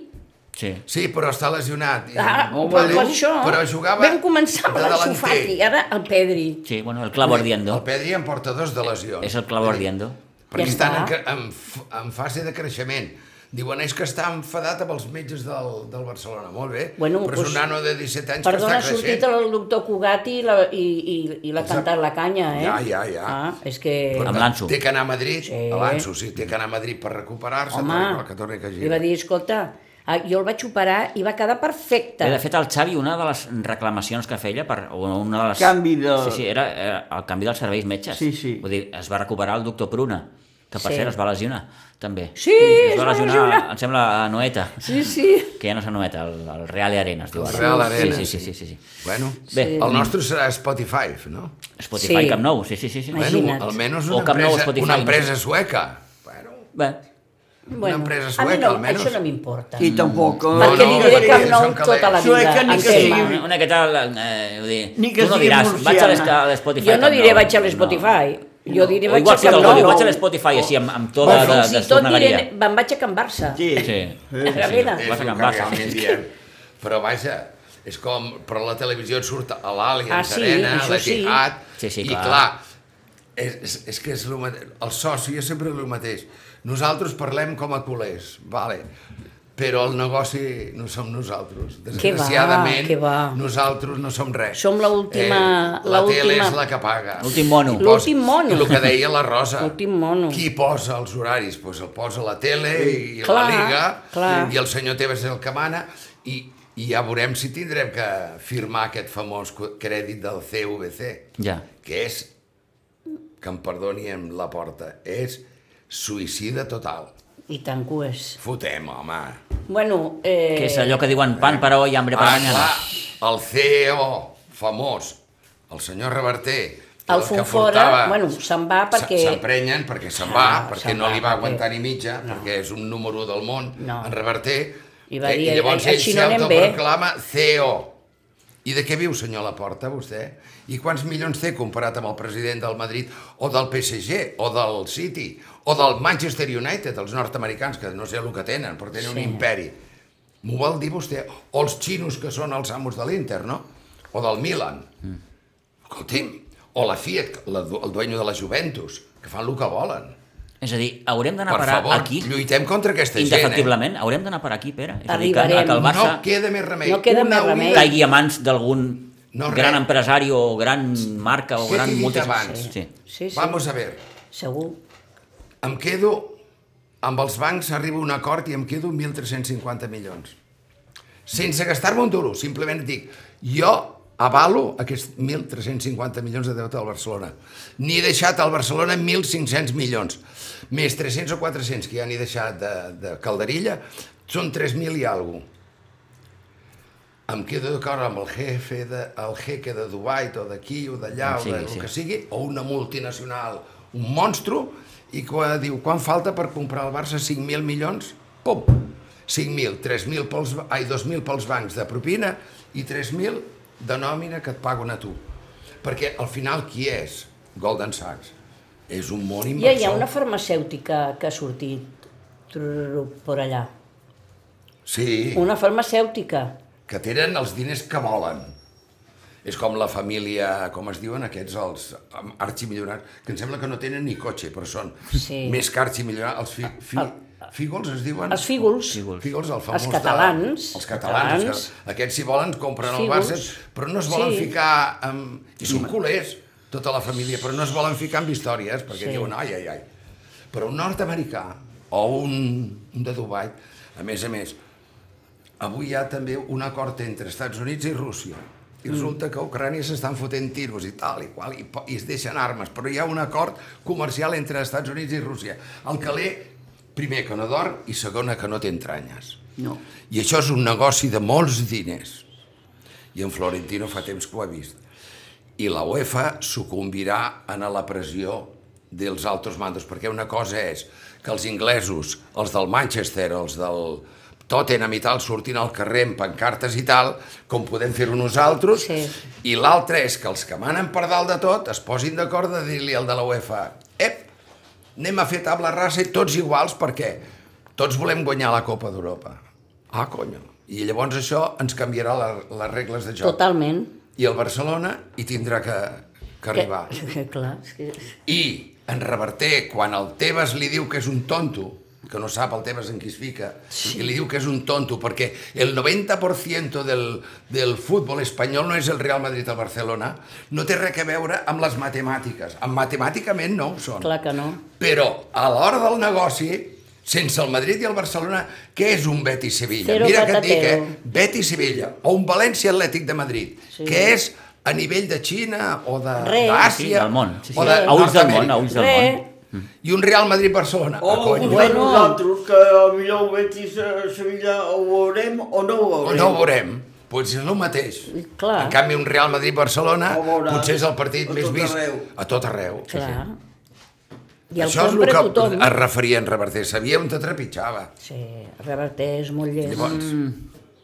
B: Sí.
C: Sí, però està lesionat. I-
D: Ah,
C: Molt
D: per, per
C: valent,
D: això
C: Però jugava
D: vam començar amb
C: de
D: l'Ansu
C: delanter.
D: Fati, ara el Pedri.
B: Sí, bueno, el clavo
C: El
B: ardiendo.
C: Pedri en porta dos de lesions.
B: És el clavo ardiendo.
C: Perquè
D: Ja
C: estan en,
D: està.
C: cre- en, f- en fase de creixement. Diuen, és que està enfadat amb els metges del, del Barcelona. Molt bé,
D: Bueno,
C: però és
D: doncs-
C: un nano de 17 anys
D: Perdona, ha
C: que està
D: sortit
C: creixent.
D: el doctor Cugat i la, i, i, i l'ha cantat la canya, eh?
C: Ja, ja, ja.
D: Ah, és que...
B: Amb l'Anso.
C: Té que anar a Madrid, sí.
D: Sí.
C: l'Anso, sí, té que anar a Madrid per recuperar-se,
D: Home,
C: tal i qual, que torni que
D: li va
C: gira.
D: dir, escolta, ah, jo el vaig operar i va quedar perfecte.
B: Bé, de fet, el Xavi, una de les reclamacions que feia, per, o una de les...
E: Canvi de-
B: Sí, sí, era, era el canvi dels serveis metges.
E: Sí, sí.
B: Vull dir, es va recuperar el doctor Pruna, que per
D: Sí.
B: sí. cert es va lesionar, també.
D: Sí, es va lesionar.
B: em sembla, a Noeta.
D: Sí, sí.
B: Que ja no s'anoeta, el, el Real Arena es diu.
C: El
B: ara.
C: Real Arena,
B: Sí, sí, sí. sí, sí, sí.
C: Bueno,
B: Bé,
C: sí. el nostre serà Spotify, no?
B: Spotify
D: Sí.
B: Camp Nou, sí, sí, sí. sí.
D: Imagina't.
C: Bueno, almenys
B: O
C: una
B: Camp Nou,
C: empresa,
B: Spotify, no
C: una
B: sé.
C: empresa sueca. Bueno,
B: Bé,
D: Bueno,
C: empresa
D: a mi
C: sueca,
D: no,
C: almenys.
D: això no m'importa.
E: I tampoc... eh,
D: Mm. Perquè
C: No,
D: li
C: no,
D: diré
C: perquè
D: Camp
C: són
D: Nou tota la
C: calents.
D: vida.
E: Sueca ni
D: em
E: que sigui.
D: sembla.
B: Ah, una, una que tal, eh, vull dir,
E: Ni que
B: tu no
E: sigui
B: diràs, vaig a les-
E: murciana.
B: a l'Spotify
D: Jo no
B: Camp
D: diré
B: Nou.
D: vaig a
B: No.
D: l'Spotify. Jo diré
B: O
D: vaig
B: igual
D: a
B: sí que
D: Camp
B: algú
D: Nou.
B: diu, vaig a l'Spotify així, amb, amb
D: O
B: tota de,
D: fins
B: de,
D: i tot diré,
B: d'estornegaria.
D: me'n vaig a Can Barça.
E: Sí.
B: Sí.
D: A la vena.
C: és
B: Vas a
C: el
B: Can
C: que
B: Barça.
C: realment diem. Però vaja, és com... Però la televisió et surt a l'Allianz
D: Ah, sí,
C: Arena,
D: això
C: a l'Etihad...
B: sí. Sí, sí,
C: I
B: clar.
C: clar, és, és, és que és el mateix. El soci és sempre el mateix. Nosaltres parlem com a culers, vale. però el negoci no som nosaltres.
D: Què va,
C: Desgraciadament,
D: què va.
C: nosaltres no som res. Eh,
D: Som l'última-
C: la tele
D: l'última-
C: és la que paga.
B: L'últim mono.
C: Qui posa-
D: L'últim mono.
C: I el que deia la Rosa.
D: L'últim mono.
C: Qui posa els horaris? Doncs pues el posa la tele i la
D: Clar,
C: Liga
D: clar.
C: i el senyor Tebas és el que mana i, i ja veurem si tindrem que firmar aquest famós cu- crèdit del CVC,
B: Ja.
C: que és, que em perdoni amb la porta, és suïcida total.
D: I tant que ho és.
C: Fotem, home.
D: Bueno, eh,
B: Que és allò que diuen pan para hoy, hambre para
C: Ah,
B: mañana.
C: clar, el CEO famós, el senyor Reverter,
D: El
C: que
D: Fonfora,
C: faltava-
D: bueno, se'n va
C: se-
D: perquè...
C: S'emprenyen perquè se'n va,
D: Ah,
C: perquè
D: se'n
C: no
D: va,
C: li va
D: perquè-
C: aguantar ni mitja, perquè és un número del món,
D: No.
C: en reverter,
D: I va
C: eh,
D: dir,
C: i llavors ell
D: "Així no anem bé".
C: s'autoproclama CEO. I de què viu, senyor Laporta, vostè? I quants milions té comparat amb el president del Madrid, o del PSG, o del City, o del Manchester United, els nord-americans, que no sé el que tenen, però tenen un
D: Sí.
C: imperi. M'ho vol dir vostè? O els xinos que són els amos de l'Inter, no? O del Milan.
B: Mm.
C: Escolti'm, o la Fiat, la, du- el dueño de la Juventus, que fan el que volen.
B: És a dir, haurem d'anar a
C: per
B: parar
C: favor,
B: aquí,
C: lluitem contra aquesta gent, eh?
B: indefectiblement, haurem d'anar a parar aquí, Pere. És a dir, que,
D: Arribarem.
B: que el Barça
C: No queda més remei.
D: No queda més remei.
C: unida-
B: caigui a mans d'algun
C: No,
B: gran
C: res.
B: empresari o gran marca o
C: Què
B: gran
C: t'he dit abans?
B: multinacional. Sí.
D: Sí, sí,
C: Vamos a ver,
D: segur.
C: em quedo... Amb els bancs arribo a un acord i em quedo 1.350 milions. Sense gastar-me un duro, simplement dic, jo avalo aquests 1.350 milions de deute al Barcelona. N'hi he deixat al Barcelona 1.500 milions. Més 300 o 400 que ja n'hi he deixat de, de Calderilla, són 3.000 i alguna em quedo d'acord amb el jefe, de, el jeque de Dubai, o d'aquí, o d'allà, o
B: Sí,
C: del
B: sí.
C: que sigui, o una multinacional, un monstru, i quan diu, quan falta per comprar el Barça 5.000 milions? Pum! 5.000, 3.000 pels, ba- ai, 2.000 pels bancs de propina i 3.000 de nòmina que et paguen a tu. Perquè al final qui és Golden Sachs? És un món
D: Ja
C: inversor.
D: hi ha una farmacèutica que ha sortit trururu, per allà.
C: Sí.
D: Una farmacèutica.
C: que tenen els diners que volen. És com la família, com es diuen aquests, els um, arximilionaris, que em sembla que no tenen ni cotxe, però són
D: Sí.
C: més que arximilionaris. Els fi, fi, fígols es diuen?
D: Els fígols.
C: Fígols, el famós
D: Els catalans.
C: De, els catalans.
D: Catalans.
C: els Que, aquests, si volen, compren el
D: Fígols.
C: Barça, però no es volen
D: Sí.
C: ficar... Amb, I són culers, tota la família, però no es volen ficar amb històries, perquè
D: Sí.
C: diuen, ai, ai, ai. Però un nord-americà o un, un de Dubai, a més a més, Avui hi ha també un acord entre Estats Units i Rússia.
D: Mm.
C: I resulta que a Ucrània s'estan fotent tiros i tal, i qual, i, po- i es deixen armes. Però hi ha un acord comercial entre Estats Units i Rússia. El caler, primer, que no dorm, i segona, que no té entranyes.
E: No.
C: I això és un negoci de molts diners. I en Florentino fa temps que ho ha vist. I la UEFA sucumbirà en la pressió dels altos mandos, perquè una cosa és que els inglesos, els del Manchester, els del Tottenham i tal, surtin al carrer amb pancartes i tal, com podem fer-ho nosaltres,
D: Sí.
C: i l'altre és que els que manen per dalt de tot es posin d'acord de dir-li al de la UEFA ep, anem a fer tabla rasa i tots iguals perquè tots volem guanyar la Copa d'Europa. Ah, conyo. I llavors això ens canviarà la, les regles de joc.
D: Totalment.
C: I el Barcelona hi tindrà que, que arribar.
D: Que, clar, és que...
C: I en Reverter, quan el Tebas li diu que és un tonto, que no sap el Tebas en qui es fica, i li diu que és un tonto perquè el 90% del, del futbol espanyol no és el Real Madrid al Barcelona, no té res a veure amb les matemàtiques. En matemàticament no ho són.
D: clar que no.
C: Però a l'hora del negoci, sense el Madrid i el Barcelona, què és un Betis-Sevilla?
D: Cero
C: Mira què et dic, eh?
D: patatero.
C: Betis-Sevilla, o un València-Atlètic de Madrid,
D: Sí.
C: que és a nivell de Xina o de-
D: Res.
C: d'Àsia...
B: Sí, del món. Sí, sí.
C: o de
B: A ulls del món,
C: Nord-Amèrica.
B: a ulls Mm. del
D: Re.
B: món.
C: I un Real Madrid-Barcelona.
E: O
C: Ah,
E: algú
C: cony.
E: de
D: Bueno.
E: nosaltres, que potser ho Betis a Sevilla ho veurem o no ho
C: O
E: veurem.
C: no ho veurem. Potser és el mateix.
D: Clar.
C: En canvi, un Real Madrid-Barcelona
E: Ho veurà
C: potser és el partit
E: Oh, a
C: més
E: tot
C: vist
E: arreu.
C: a tot arreu.
D: Clar. I el
C: Això és el
D: compra
C: que
D: tothom.
C: es referia en Reverter. Sabia on te trepitjava.
D: Sí, reverteix, molt llest.
C: Llavors,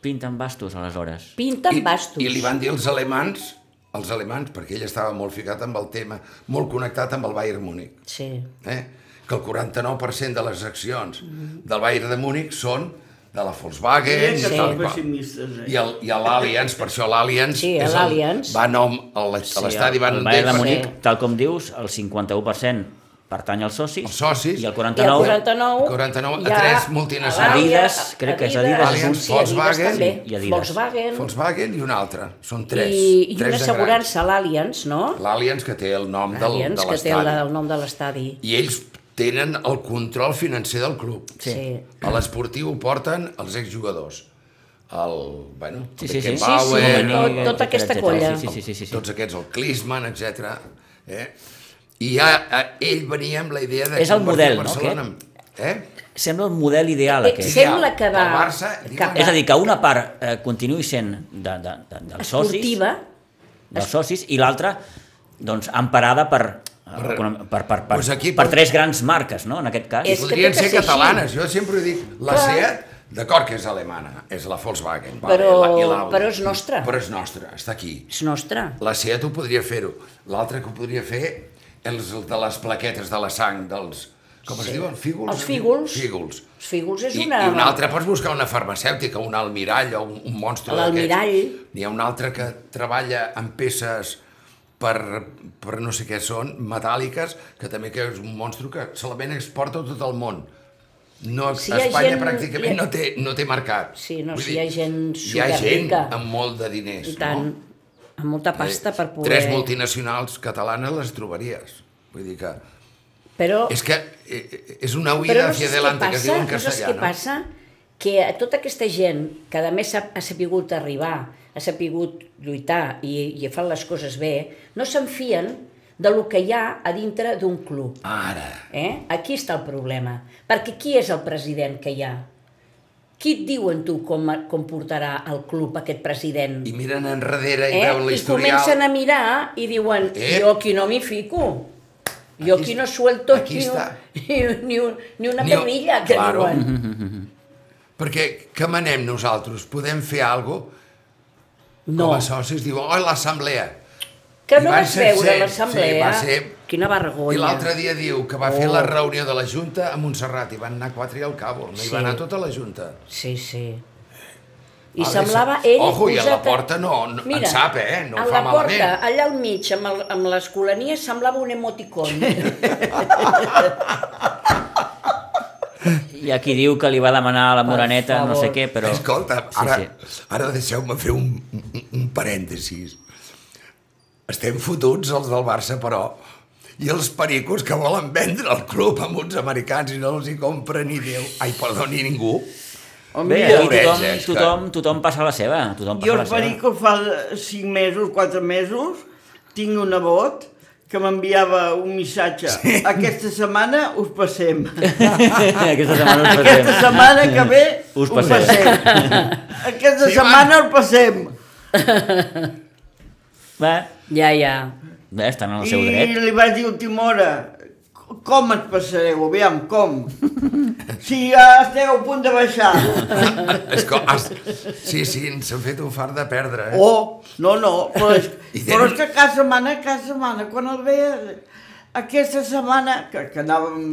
B: Pinten bastos, aleshores.
D: Pinta amb bastos.
C: I, I li van dir els alemans, els alemans, perquè ell estava molt ficat amb el tema, molt connectat amb el Bayern Múnich,
D: Sí,
C: eh? que el 49% de les accions
D: Mm-hmm.
C: del Bayern de Múnich són de la Volkswagen...
E: Mira
C: i
E: que
C: tal
E: són
C: i qual.
E: pessimistes, eh?
C: I el- i a l'Allianz, per això l'Allianz...
D: Sí,
C: és el-
D: l'Allianz.
C: Va nom a l'est- a l'estadi, va
B: el
C: nom
B: Bayern de
C: d'ell,
D: Múnich.
B: Munic, tal com dius, el 51% pertany als socis,
C: Els socis.
B: i el
D: I el
B: 49
D: 49...
C: 49, a
D: hi ha
C: tres multinacionals.
B: Adidas, crec que és Adidas,
C: Allianz,
D: sí, Adidas
C: Volkswagen.
D: també.
B: Sí, i Adidas.
D: Volkswagen.
C: Volkswagen i un altre. Són tres.
D: I, i
C: tres
D: una
C: de grans.
D: assegurança, l'Allianz, no?
C: L'Allianz, que té el nom del,
D: Allianz,
C: de
D: que té la,
C: l'estadi.
D: el nom de l'estadi.
C: I ells tenen el control financer del club.
D: Sí. sí.
C: A l'esportiu ho porten els exjugadors. El, bueno,
B: Sí,
C: el
B: sí, sí.
C: Beckenbauer,
D: Sí, sí,
B: Rummenigge,
D: tot- tota
B: etcètera,
D: aquesta
B: etcètera.
D: colla.
B: Sí, sí, sí, sí, sí.
C: tots aquests, el Klinsmann, etc. Eh? I ja eh, ell venia amb la idea de
B: És el model,
C: convertir
B: no,
C: Barcelona en- Eh?
B: Sembla el model ideal,
D: Eh,
B: aquest.
D: sí. Sembla que va
C: El Barça,
D: cap
C: digue'm,
B: És a dir, que una part eh, continuï sent de, de, de, dels socis,
D: Esportiva.
B: dels socis i l'altra doncs, emparada per, per,
C: Per-
B: per, per, per,
C: Doncs aquí
B: per
C: pot-
B: tres grans marques, no?, en aquest cas.
D: És- que
C: Podrien
D: tot
C: ser
D: és així.
C: catalanes, jo sempre ho dic. La
D: Clar.
C: SEAT, d'acord que és alemana, és la Volkswagen, vale,
D: Però-
C: la- i l'Audi.
D: però és nostra.
C: Però és nostra, està aquí.
D: És nostre.
C: La SEAT ho podria fer-ho. L'altre que ho podria fer és el de les plaquetes de la sang, dels... Com es diuen? Fígols?
D: Els fígols.
C: Fígols.
D: Els fígols és
C: I,
D: una...
C: I un altre, pots buscar una farmacèutica, un almirall o un, un monstre d'aquests.
D: L'almirall.
C: N'hi ha un altre que treballa amb peces per, per no sé què són, metàl·liques, que també que és un monstre que solament exporta a tot el món. No,
D: Si
C: si
D: hi ha
C: Espanya
D: gent-
C: gent, pràcticament
D: hi ha-
C: no, té, no té mercat.
D: Sí, no,
C: Vull
D: si hi ha
C: dir,
D: gent
C: Hi ha gent
D: superrica.
C: amb molt de diners,
D: I tant,
C: no? Eh,
D: no? amb molta pasta per poder...
C: Tres multinacionals catalanes les trobaries. Vull dir que...
D: Però,
C: És que eh, és una
D: però
C: huida
D: no
C: hacia
D: saps què
C: adelante, que es diu
D: passa,
C: en
D: no saps
C: castellà,
D: què passa? Que a tota aquesta gent, que a més ha, ha sapigut arribar, ha sapigut lluitar i, i fan les coses bé, no se'n fien de lo que hi ha a dintre d'un club.
C: Ara.
D: Eh? Aquí està el problema. Perquè qui és el president que hi ha? Qui et diuen tu com, com portarà el club aquest president?
C: I miren enrere i
D: eh?
C: veuen
D: I
C: l'historial.
D: comencen a mirar i diuen, eh?
C: Eh?
D: jo aquí no m'hi fico. Jo aquí,
C: Aquí-
D: no suelto
C: aquí
D: ni, un,
C: està.
D: ni, un- ni, un, ni una
C: Ni un-
D: perrilla, que
C: claro. Mm-hmm.
D: diuen.
C: Perquè que manem nosaltres? Podem fer alguna cosa?
D: No,
C: Com a socis diuen, oi, l'assemblea.
D: que
C: i
D: no
C: van
D: vas
C: ser
D: veure
C: cent,
D: l'assemblea.
C: sí, va ser-
D: Quina
C: I
D: vergonya.
C: l'altre dia diu que va fer la
D: Oh.
C: reunió de la Junta a Montserrat i van anar quatre i al cabo. No
D: Sí.
C: hi va anar tota la Junta.
D: Sí, sí. I
C: Vale,
D: semblava
C: se-
D: ell...
C: Ojo, i a la
D: posat
C: porta no- no- en sap, eh? No
D: a
C: fa
D: la porta,
C: malament.
D: allà al mig, amb, el, amb l'escolania, semblava un emoticon.
B: Hi ha qui diu que li va demanar a la Moraneta no sé
D: favor.
B: què, però...
C: Escolta,
B: Sí,
C: ara,
B: sí.
C: sí, sí. ara deixeu-me fer un, un, un parèntesis. Estem fotuts, els del Barça, però, i els pericos que volen vendre el club amb uns americans i no els hi compra ni Déu, ai, perdó, ni ningú.
E: Oh,
B: Bé,
E: mira,
B: aquí tothom,
C: Pobret, és que-
B: tothom, tothom passa la seva. Tothom passa
E: Jo
B: la
E: els
B: seva.
E: pericos fa 5 mesos, 4 mesos, tinc un nebot que m'enviava un missatge. Sí. Aquesta setmana us passem.
B: Aquesta setmana us passem.
E: Aquesta setmana que ve
B: Us
E: us
B: passem.
E: passem. Aquesta
C: Sí,
E: setmana us passem.
B: Va,
D: ja, ja.
B: bé, estan en el seu
E: I
B: dret.
E: li vaig dir a última hora, com ens passareu? Aviam, com? Si ja esteu a punt de baixar.
C: Esco, has, sí, sí, ens han fet un far de perdre, eh?
E: Oh, no, no, però és,
C: I
E: però
C: tenen-
E: és que cada setmana, cada setmana, quan el veia, aquesta setmana, que, que anàvem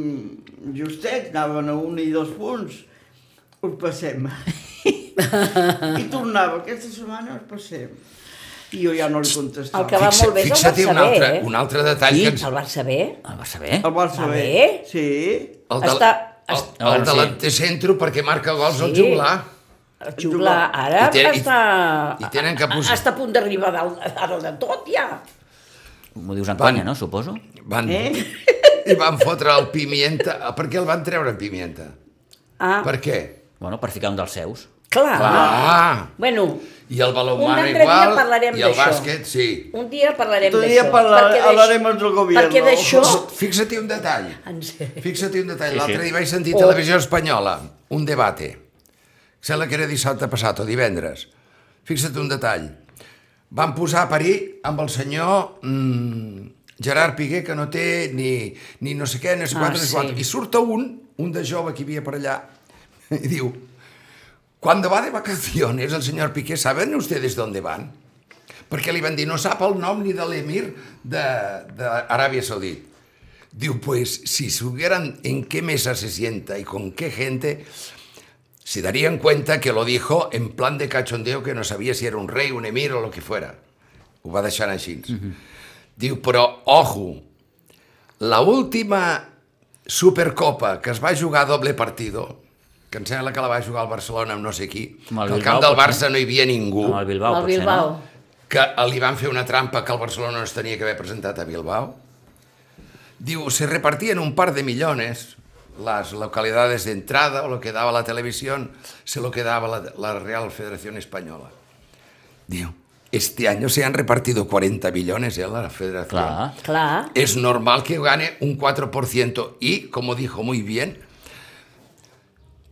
E: justets, anàvem a un i dos punts, us passem. I tornava, aquesta setmana us passem. I jo ja no li contestava.
D: El que va molt bé és el
C: fixa't un
D: Barça B,
C: altre,
D: eh?
C: un altre detall
B: Sí?
C: que ens...
D: El Barça bé?
B: El vas Ah, saber?
E: El vols
D: Va
E: saber?
D: bé?
E: Sí.
C: El, de,
D: Està-
C: el,
D: est-
B: Ah,
C: el de
B: sí.
C: l'antecentro perquè marca gols sí. al
D: Sí.
C: juglar.
D: El juglar ara
C: I té- i-
D: està,
C: i tenen que posar-
D: està a punt d'arribar a dalt, a dalt de tot, ja.
B: M'ho dius en conya,
C: Van.
B: no? Suposo.
C: Van,
E: Eh?
C: I van fotre el pimienta. Per què el van treure, pimienta?
D: Ah,
C: Per què?
B: Bueno, per ficar un dels seus.
D: clar.
C: Ah!
D: Bueno,
C: I el
D: Un
C: balonmano
D: altre dia
C: igual,
D: parlarem
C: i el
D: d'això.
C: bàsquet, sí.
D: un dia parlarem
E: Otro
D: d'això.
E: dia parla-
D: perquè d'aix-
E: hablarem amb el gobierno.
D: Perquè d'això...
C: Psst, Fixa-t'hi un detall.
D: Ens-
C: Fixa-t'hi un detall.
B: Sí,
C: L'altre
B: sí.
C: dia vaig sentir
D: Oh.
C: Televisió Espanyola, un debate. Sembla que era dissabte passat o divendres. Fixa't un detall. Van posar a parir amb el senyor mm, Gerard Piqué, que no té ni, ni no sé què, ni no sé
D: Ah,
C: quantes, ni
D: sí.
C: quantes. I surt un, un de jove que hi havia per allà, i diu, Cuando va de vacaciones el señor Piqué, ¿saben ustedes dónde van? Perquè li van dir, no sap el nom ni de l'emir d'Aràbia Saudita. Diu, pues, si supieran en qué mesa se sienta y con qué gente, se darían cuenta que lo dijo en plan de cachondeo que no sabía si era un rei, un emir o lo que fuera. Ho va deixant així.
B: Mhm.
C: Diu, però, ojo, la última Supercopa que es va jugar a doble partido, que em sembla que la va jugar el Barcelona amb no sé qui, que
B: Amb el
C: al
B: Bilbao,
C: camp del
B: potser.
C: Barça no hi havia ningú,
B: Amb el Bilbao,
D: el
B: potser,
D: Bilbao.
B: no?
C: que li van fer una trampa que el Barcelona no es tenia que haver presentat a Bilbao. Diu, se repartían un par de millones las localidades de entrada o lo que daba la televisión, se lo quedaba la, la Real Federación Española. Diu, este año se han repartido 40 millones en la federación.
B: Clar.
D: Clar.
C: Es normal que gane un 4% y, como dijo muy bien,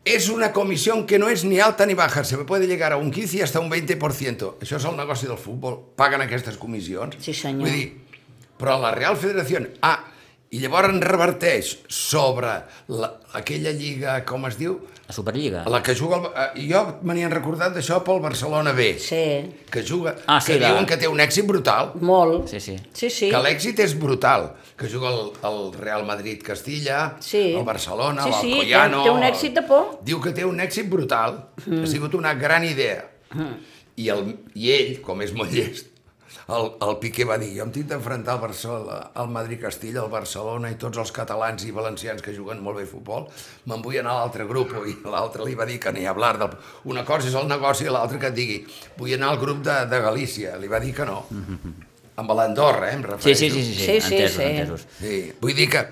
C: es una comisión que no es ni alta ni baja, se puede llegar a un 15 i hasta un 20%. Això és el negoci del futbol, paguen aquestes comissions.
D: Sí, senyor.
C: Vull dir, però la Real Federació... Ah, i llavors reverteix sobre la, aquella lliga, com es diu?
B: La Superliga.
C: La que juga... El, eh, jo me n'hi han recordat d'això pel Barcelona B,
D: Sí,
C: que juga...
B: Ah, sí,
C: que
B: la-
C: diuen que té un èxit brutal,
D: molt.
B: Sí, sí.
D: Sí, sí.
C: que l'èxit és brutal, que juga el, el Real Madrid-Castilla,
D: Sí.
C: el Barcelona,
D: Sí, sí,
C: l'Alcoyano...
D: té- té un èxit de por.
C: Diu que té un èxit brutal, mm. ha sigut una gran idea. Mm. I, el, I ell, com és molt llest, el, el Piqué va dir, jo em tinc d'enfrontar al, Barcelona, al Madrid-Castilla, al Barcelona i tots els catalans i valencians que juguen molt bé a futbol, me'n vull anar a l'altre grup i l'altre li va dir que ni hablar del... Una cosa és el negoci i l'altra que et digui vull anar al grup de, de Galícia, li va dir que no. Mm
D: Mm-hmm.
C: -hmm. Amb l'Andorra, eh, em
B: Sí,
C: refereixo.
B: sí, sí, sí, sí,
D: Sí, sí,
B: entesos,
D: sí.
B: entesos.
C: sí. Vull dir que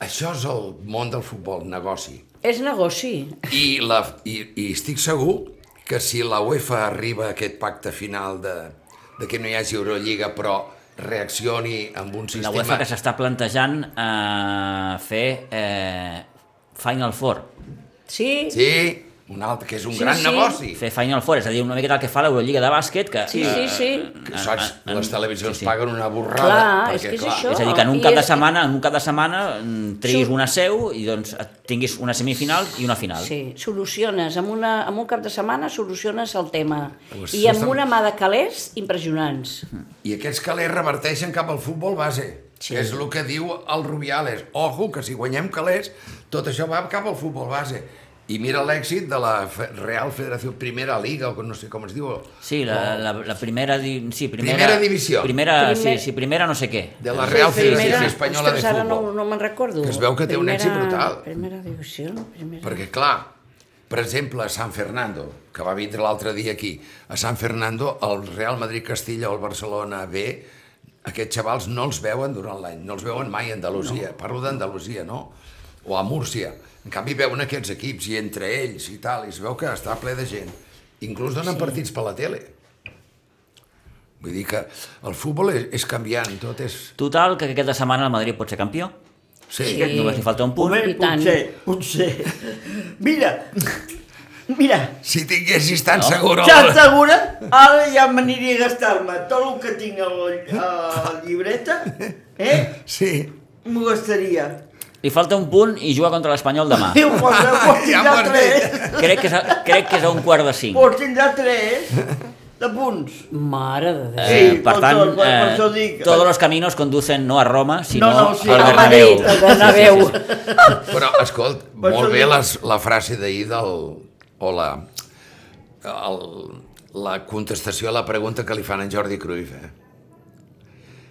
C: això és el món del futbol, negoci.
D: És negoci.
C: I, la, i, I estic segur que si la UEFA arriba a aquest pacte final de, de que no hi hagi Eurolliga, però reaccioni amb un
B: La
C: sistema...
B: UEFA que s'està plantejant eh, fer eh, Final Four.
D: Sí,
C: Sí, un altre, que és un
D: Sí,
C: sí, gran
D: sí.
C: sí. negoci.
B: Fer Final Four, és a dir, una miqueta el que fa l'Eurolliga de bàsquet, que... eh,
D: sí, sí, sí.
C: Que, saps,
B: en- en-
C: les televisions
B: Ah, sí, sí.
C: paguen una borrada.
D: Clar, és
C: perquè,
D: que és
C: clar,
D: això.
B: És a dir, que en un
D: I
B: cap de
D: és-
B: setmana, en un cap de setmana mm, triguis
D: Surt.
B: una seu i doncs et tinguis una semifinal i una final.
D: Sí, soluciones, amb, una, amb un cap de setmana soluciones el tema.
C: Ah, Pues
D: I amb
C: estem-
D: una mà de calés impressionants.
C: I aquests calés reverteixen cap al futbol base, sí.
D: Sí.
C: que és el que diu el Rubiales. Ojo, que si guanyem calés, tot això va cap al futbol base. I mira l'èxit de la Fe- Real Federació Primera Liga, o no sé com es diu,
B: Sí, la, la, la primera... Di... Sí, primera,
C: Oh. Primera divisió.
B: Primera,
D: Primer-
B: sí, sí, primera no sé què.
C: de la Real
D: Sí,
C: Federació
D: primera-
C: Espanyola de
D: ostres, ara
C: Futbol.
D: no, no me'n recordo.
C: Que es veu que té un èxit brutal.
D: Primera divisió, primera...
C: Perquè, clar, per exemple, a San Fernando, que va vindre l'altre dia aquí, a San Fernando, el Real Madrid-Castilla o el Barcelona B, aquests xavals no els veuen durant l'any, no els veuen mai a Andalusia. No. Parlo d'Andalusia, no? O a Múrcia. En canvi, veuen aquests equips i entre ells i tal, i es veu que està ple de gent. Inclús donen sí. partits per la tele. Vull dir que el futbol és, és canviant, tot és...
B: Total, que aquesta setmana el Madrid pot ser campió.
C: Sí.
E: Eh.
D: Sí.
B: Només li falta un punt.
E: Home,
D: I tant.
E: potser, potser. Mira, mira,
C: Si tinguessis tan no. segur...
E: Ja segura, ara ja m'aniria a gastar-me tot el que tinc a la, a la llibreta, eh?
C: Sí.
E: M'ho gastaria.
B: Li falta un punt i juga contra l'Espanyol demà.
E: Déu, pot, pot
C: Ja
E: tindrà
C: m'ho has dit.
E: tres.
B: crec, que és a, crec que és a un quart de cinc.
E: Pot tindrà tres de punts.
D: Mare de Déu.
E: Sí,
B: Eh, per
E: per
B: tant,
E: això- per- per
B: eh,
E: això dic.
B: todos los caminos conducen no a Roma, sinó
E: No, no, sí,
B: al
E: a
B: Bernabéu.
D: Madrid, al Bernabéu.
B: Sí, sí, sí.
C: Però, escolt,
E: Per
C: molt
E: això
C: bé
E: dic-
C: les, la frase d'ahir del... o la, el, la contestació a la pregunta que li fan a en Jordi Cruyff, eh?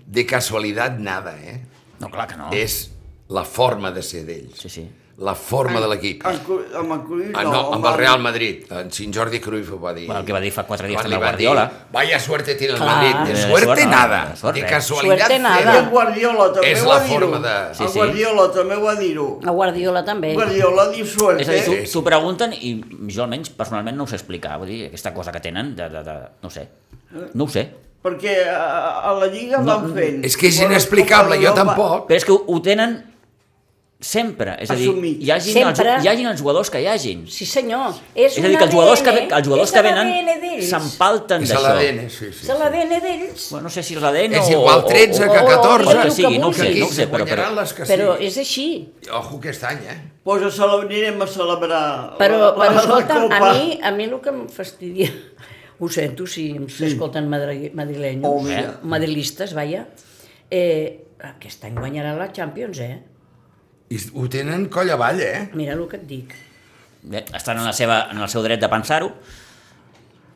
C: De casualitat nada, eh?
B: No, clar que no.
C: Oh. És la forma de ser d'ells.
B: Ah. Sí, sí.
C: La forma de l'equip.
E: En Cru- Amb el Cruyff,
C: Ah, no, amb el Real Madrid. Eh, En Sin Jordi Cruyff ho va dir.
B: Bueno, el que va dir fa quatre dies
C: Quan
B: també
C: li
B: el
C: va dir,
B: Guardiola.
C: Vaya suerte tiene el
D: Clar.
C: Madrid. De
B: Eh,
C: suerte
B: suerte,
C: nada.
B: de suerte.
C: De casualitat
D: Suerte nada.
E: El
C: zero.
E: Guardiola també
C: És
E: ho
C: la
E: va dir-ho.
C: forma de-
B: Sí,
E: El
B: sí.
E: Guardiola també ho va dir-ho.
D: A Guardiola també.
E: Guardiola eh? diu suerte.
B: És a dir,
C: Sí, sí.
B: t'ho- t'ho pregunten i jo almenys personalment no ho sé explicar. Vull dir, aquesta cosa que tenen de... de, de no ho sé. No ho sé.
E: Perquè a, a la Lliga no, van fent.
C: És que és
E: Quan es
C: inexplicable,
E: toca
C: jo
E: Europa-
C: tampoc.
B: Però és que ho, ho tenen sempre. És a dir,
E: Assumit.
B: hi hagin, els,
D: Sempre.
B: hi hagin els jugadors que hi hagin.
D: Sí, senyor.
B: És
D: És,
B: a dir, que els jugadors que, ve- els jugadors que
D: l'ADN
B: venen
D: d'ells.
B: s'empalten
C: És a
B: d'això.
C: l'ADN, sí, sí.
D: És l'ADN d'ells.
B: Bueno, no sé si és l'ADN o...
C: És igual
B: o-
C: 13
B: o-
C: que
B: o- o-
C: 14.
B: O, el que sigui, no ho
D: Que
B: sé,
D: aquí
B: no ho sé,
C: se
B: però... però...
C: guanyaran les que
D: Però
C: siguin.
D: és així.
C: Ojo aquest any, eh?
E: Pues a cele- anirem a celebrar
D: Però, però
E: la, la,
D: escolta'm,
E: la
D: a
E: copa.
D: mi, a mi el que em fastidia... Ho sento si em s'escolten madri- madrilenyos, eh,
E: Oh, mira.
D: madrilistes, vaja. Eh, aquest any guanyarà la Champions, eh?
C: I ho tenen coll avall, eh?
D: Mira el que et dic.
B: Bé, estan en, la seva, en el seu dret de pensar-ho.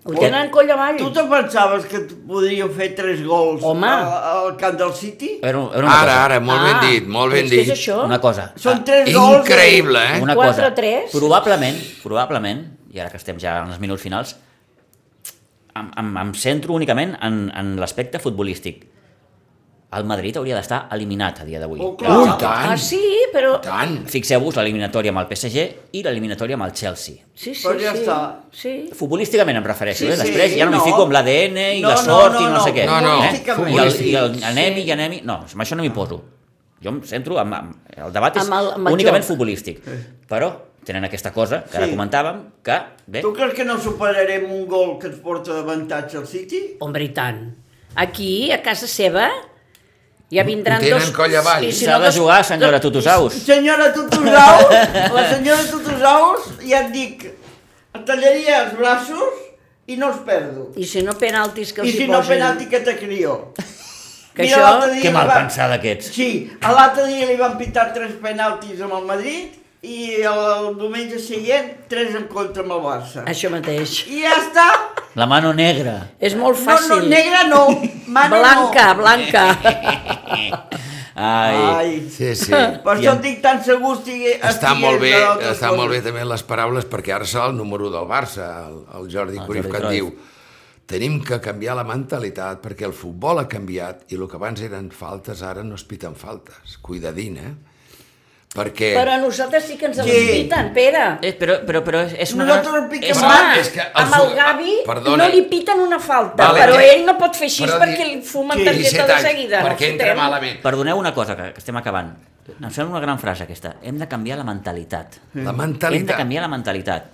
D: Ho tenen coll avall.
E: Oh. Tu te pensaves que t- podríem fer tres gols
D: Home.
E: al, al camp del City?
C: Eh,
B: A veure, a veure una
C: Ara,
B: cosa.
C: ara, molt ben
D: Ah,
C: dit, molt ben
D: és que és
C: dit.
D: això.
B: Una cosa.
E: Són tres gols.
C: Increïble, eh?
B: Una
D: Quatre,
B: cosa.
D: tres?
B: Probablement, probablement, i ara que estem ja en els minuts finals, em, em, em centro únicament en, en l'aspecte futbolístic. El Madrid hauria d'estar eliminat a dia d'avui.
E: Oh, clar.
C: Ui,
D: Ah,
C: tant,
D: sí, però...
C: tant.
B: Fixeu-vos l'eliminatòria amb el PSG i l'eliminatòria amb el Chelsea.
D: Sí, sí,
E: Però ja
D: sí.
E: està.
D: Sí.
B: Futbolísticament em refereixo,
E: Sí,
B: eh? Després
E: sí,
B: ja no,
E: no.
B: m'hi fico amb l'ADN i
E: No,
B: la
E: no,
B: sort
E: no,
B: i no, sé
E: no.
B: què.
C: No, no.
B: Eh? I, el, I el
E: Futbolístic.
B: anem i anem i... No, amb això no m'hi poso. Jo em centro en... en el debat és
D: Amb el- amb el
B: únicament
D: joc.
B: futbolístic. Però tenen aquesta cosa que ara
E: Sí.
B: comentàvem, que, bé,
C: eh?
E: Tu creus que no superarem un gol que ens porta d'avantatge al City?
D: Hombre, i tant. Aquí, a casa seva, Ja vindran
C: I tenen
D: dos...
C: coll avall.
D: i si
B: S'ha
D: no,
B: de
D: dos-
B: jugar, senyora Tutusaus.
E: Senyora Tutusaus, la senyora Tutusaus, ja et dic, em tallaria els braços i no els perdo.
D: I si no penaltis que
E: I
D: els hi
E: si no
D: posen...
E: penalti que te crió.
D: Que això-
E: l'altre dia
B: Que
E: li
B: mal
E: va-
B: pensada que ets.
E: Sí, a l'altre dia li van pitar tres penaltis amb el Madrid i el, diumenge seient tres en contra amb el Barça.
D: Això mateix.
E: I ja està.
B: La mano negra.
D: És molt
E: No,
D: fàcil.
E: no, negra no. Mano
D: blanca,
E: No.
D: blanca.
B: Ai, Ai.
E: Ai.
C: Sí, sí.
E: Per
B: I
E: això
B: en-
E: estic tan segur estigui...
C: Està
E: estigui
C: molt bé,
E: entre d'altres
C: està
E: coses.
C: molt bé també les paraules, perquè ara serà el número u del Barça, el, el Jordi
B: El
C: Cruyff,
B: Jordi
C: que et
B: Cruyff.
C: diu tenim que canviar la mentalitat perquè el futbol ha canviat i el que abans eren faltes ara no es piten faltes. Cuidadín, eh? Perquè...
D: Però a nosaltres sí que ens
E: Sí.
D: els piten, Pere.
B: Eh, però, però, però és una...
E: Nosaltres piquem
B: és
E: Home,
B: una-
D: Home,
C: és que el
D: amb el
C: fu- Ah,
D: Gavi
C: perdona.
D: no li piten una falta,
C: Vale,
D: però
C: que-
D: ell no pot fer així
C: però
D: perquè
C: di-
D: li fumen
E: Sí,
D: targeta
C: 17
D: de
C: anys,
D: seguida.
C: Perquè
D: no
C: entra
D: fotem.
C: malament.
B: Perdoneu una cosa, que, que estem acabant. Em sembla una gran frase aquesta. Hem de canviar la mentalitat.
C: La
B: Hem de
C: mentalitat,
B: canviar la mentalitat.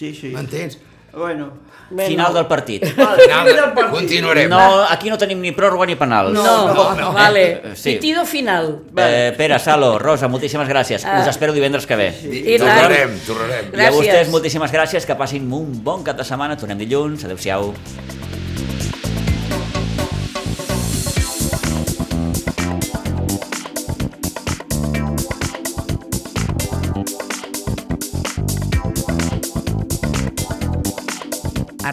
E: Sí, sí.
C: m'entens?
E: Bueno.
B: Final del partit.
E: Vale,
C: Final,
E: final del partit.
C: continuarem.
B: No, aquí no tenim ni pròrroga ni penals.
D: No,
E: No,
D: no,
E: no,
C: no.
D: vale.
B: Eh, sí.
D: Sí. Pitido final.
B: Eh, Pere, Salo, Rosa, moltíssimes gràcies. Us
D: Ah.
B: espero divendres que ve.
D: I tant.
C: Tornarem, tornarem.
B: I a
D: Gràcies.
B: vostès, moltíssimes gràcies, que passin un bon cap de setmana. Tornem dilluns. Adéu-siau.
A: A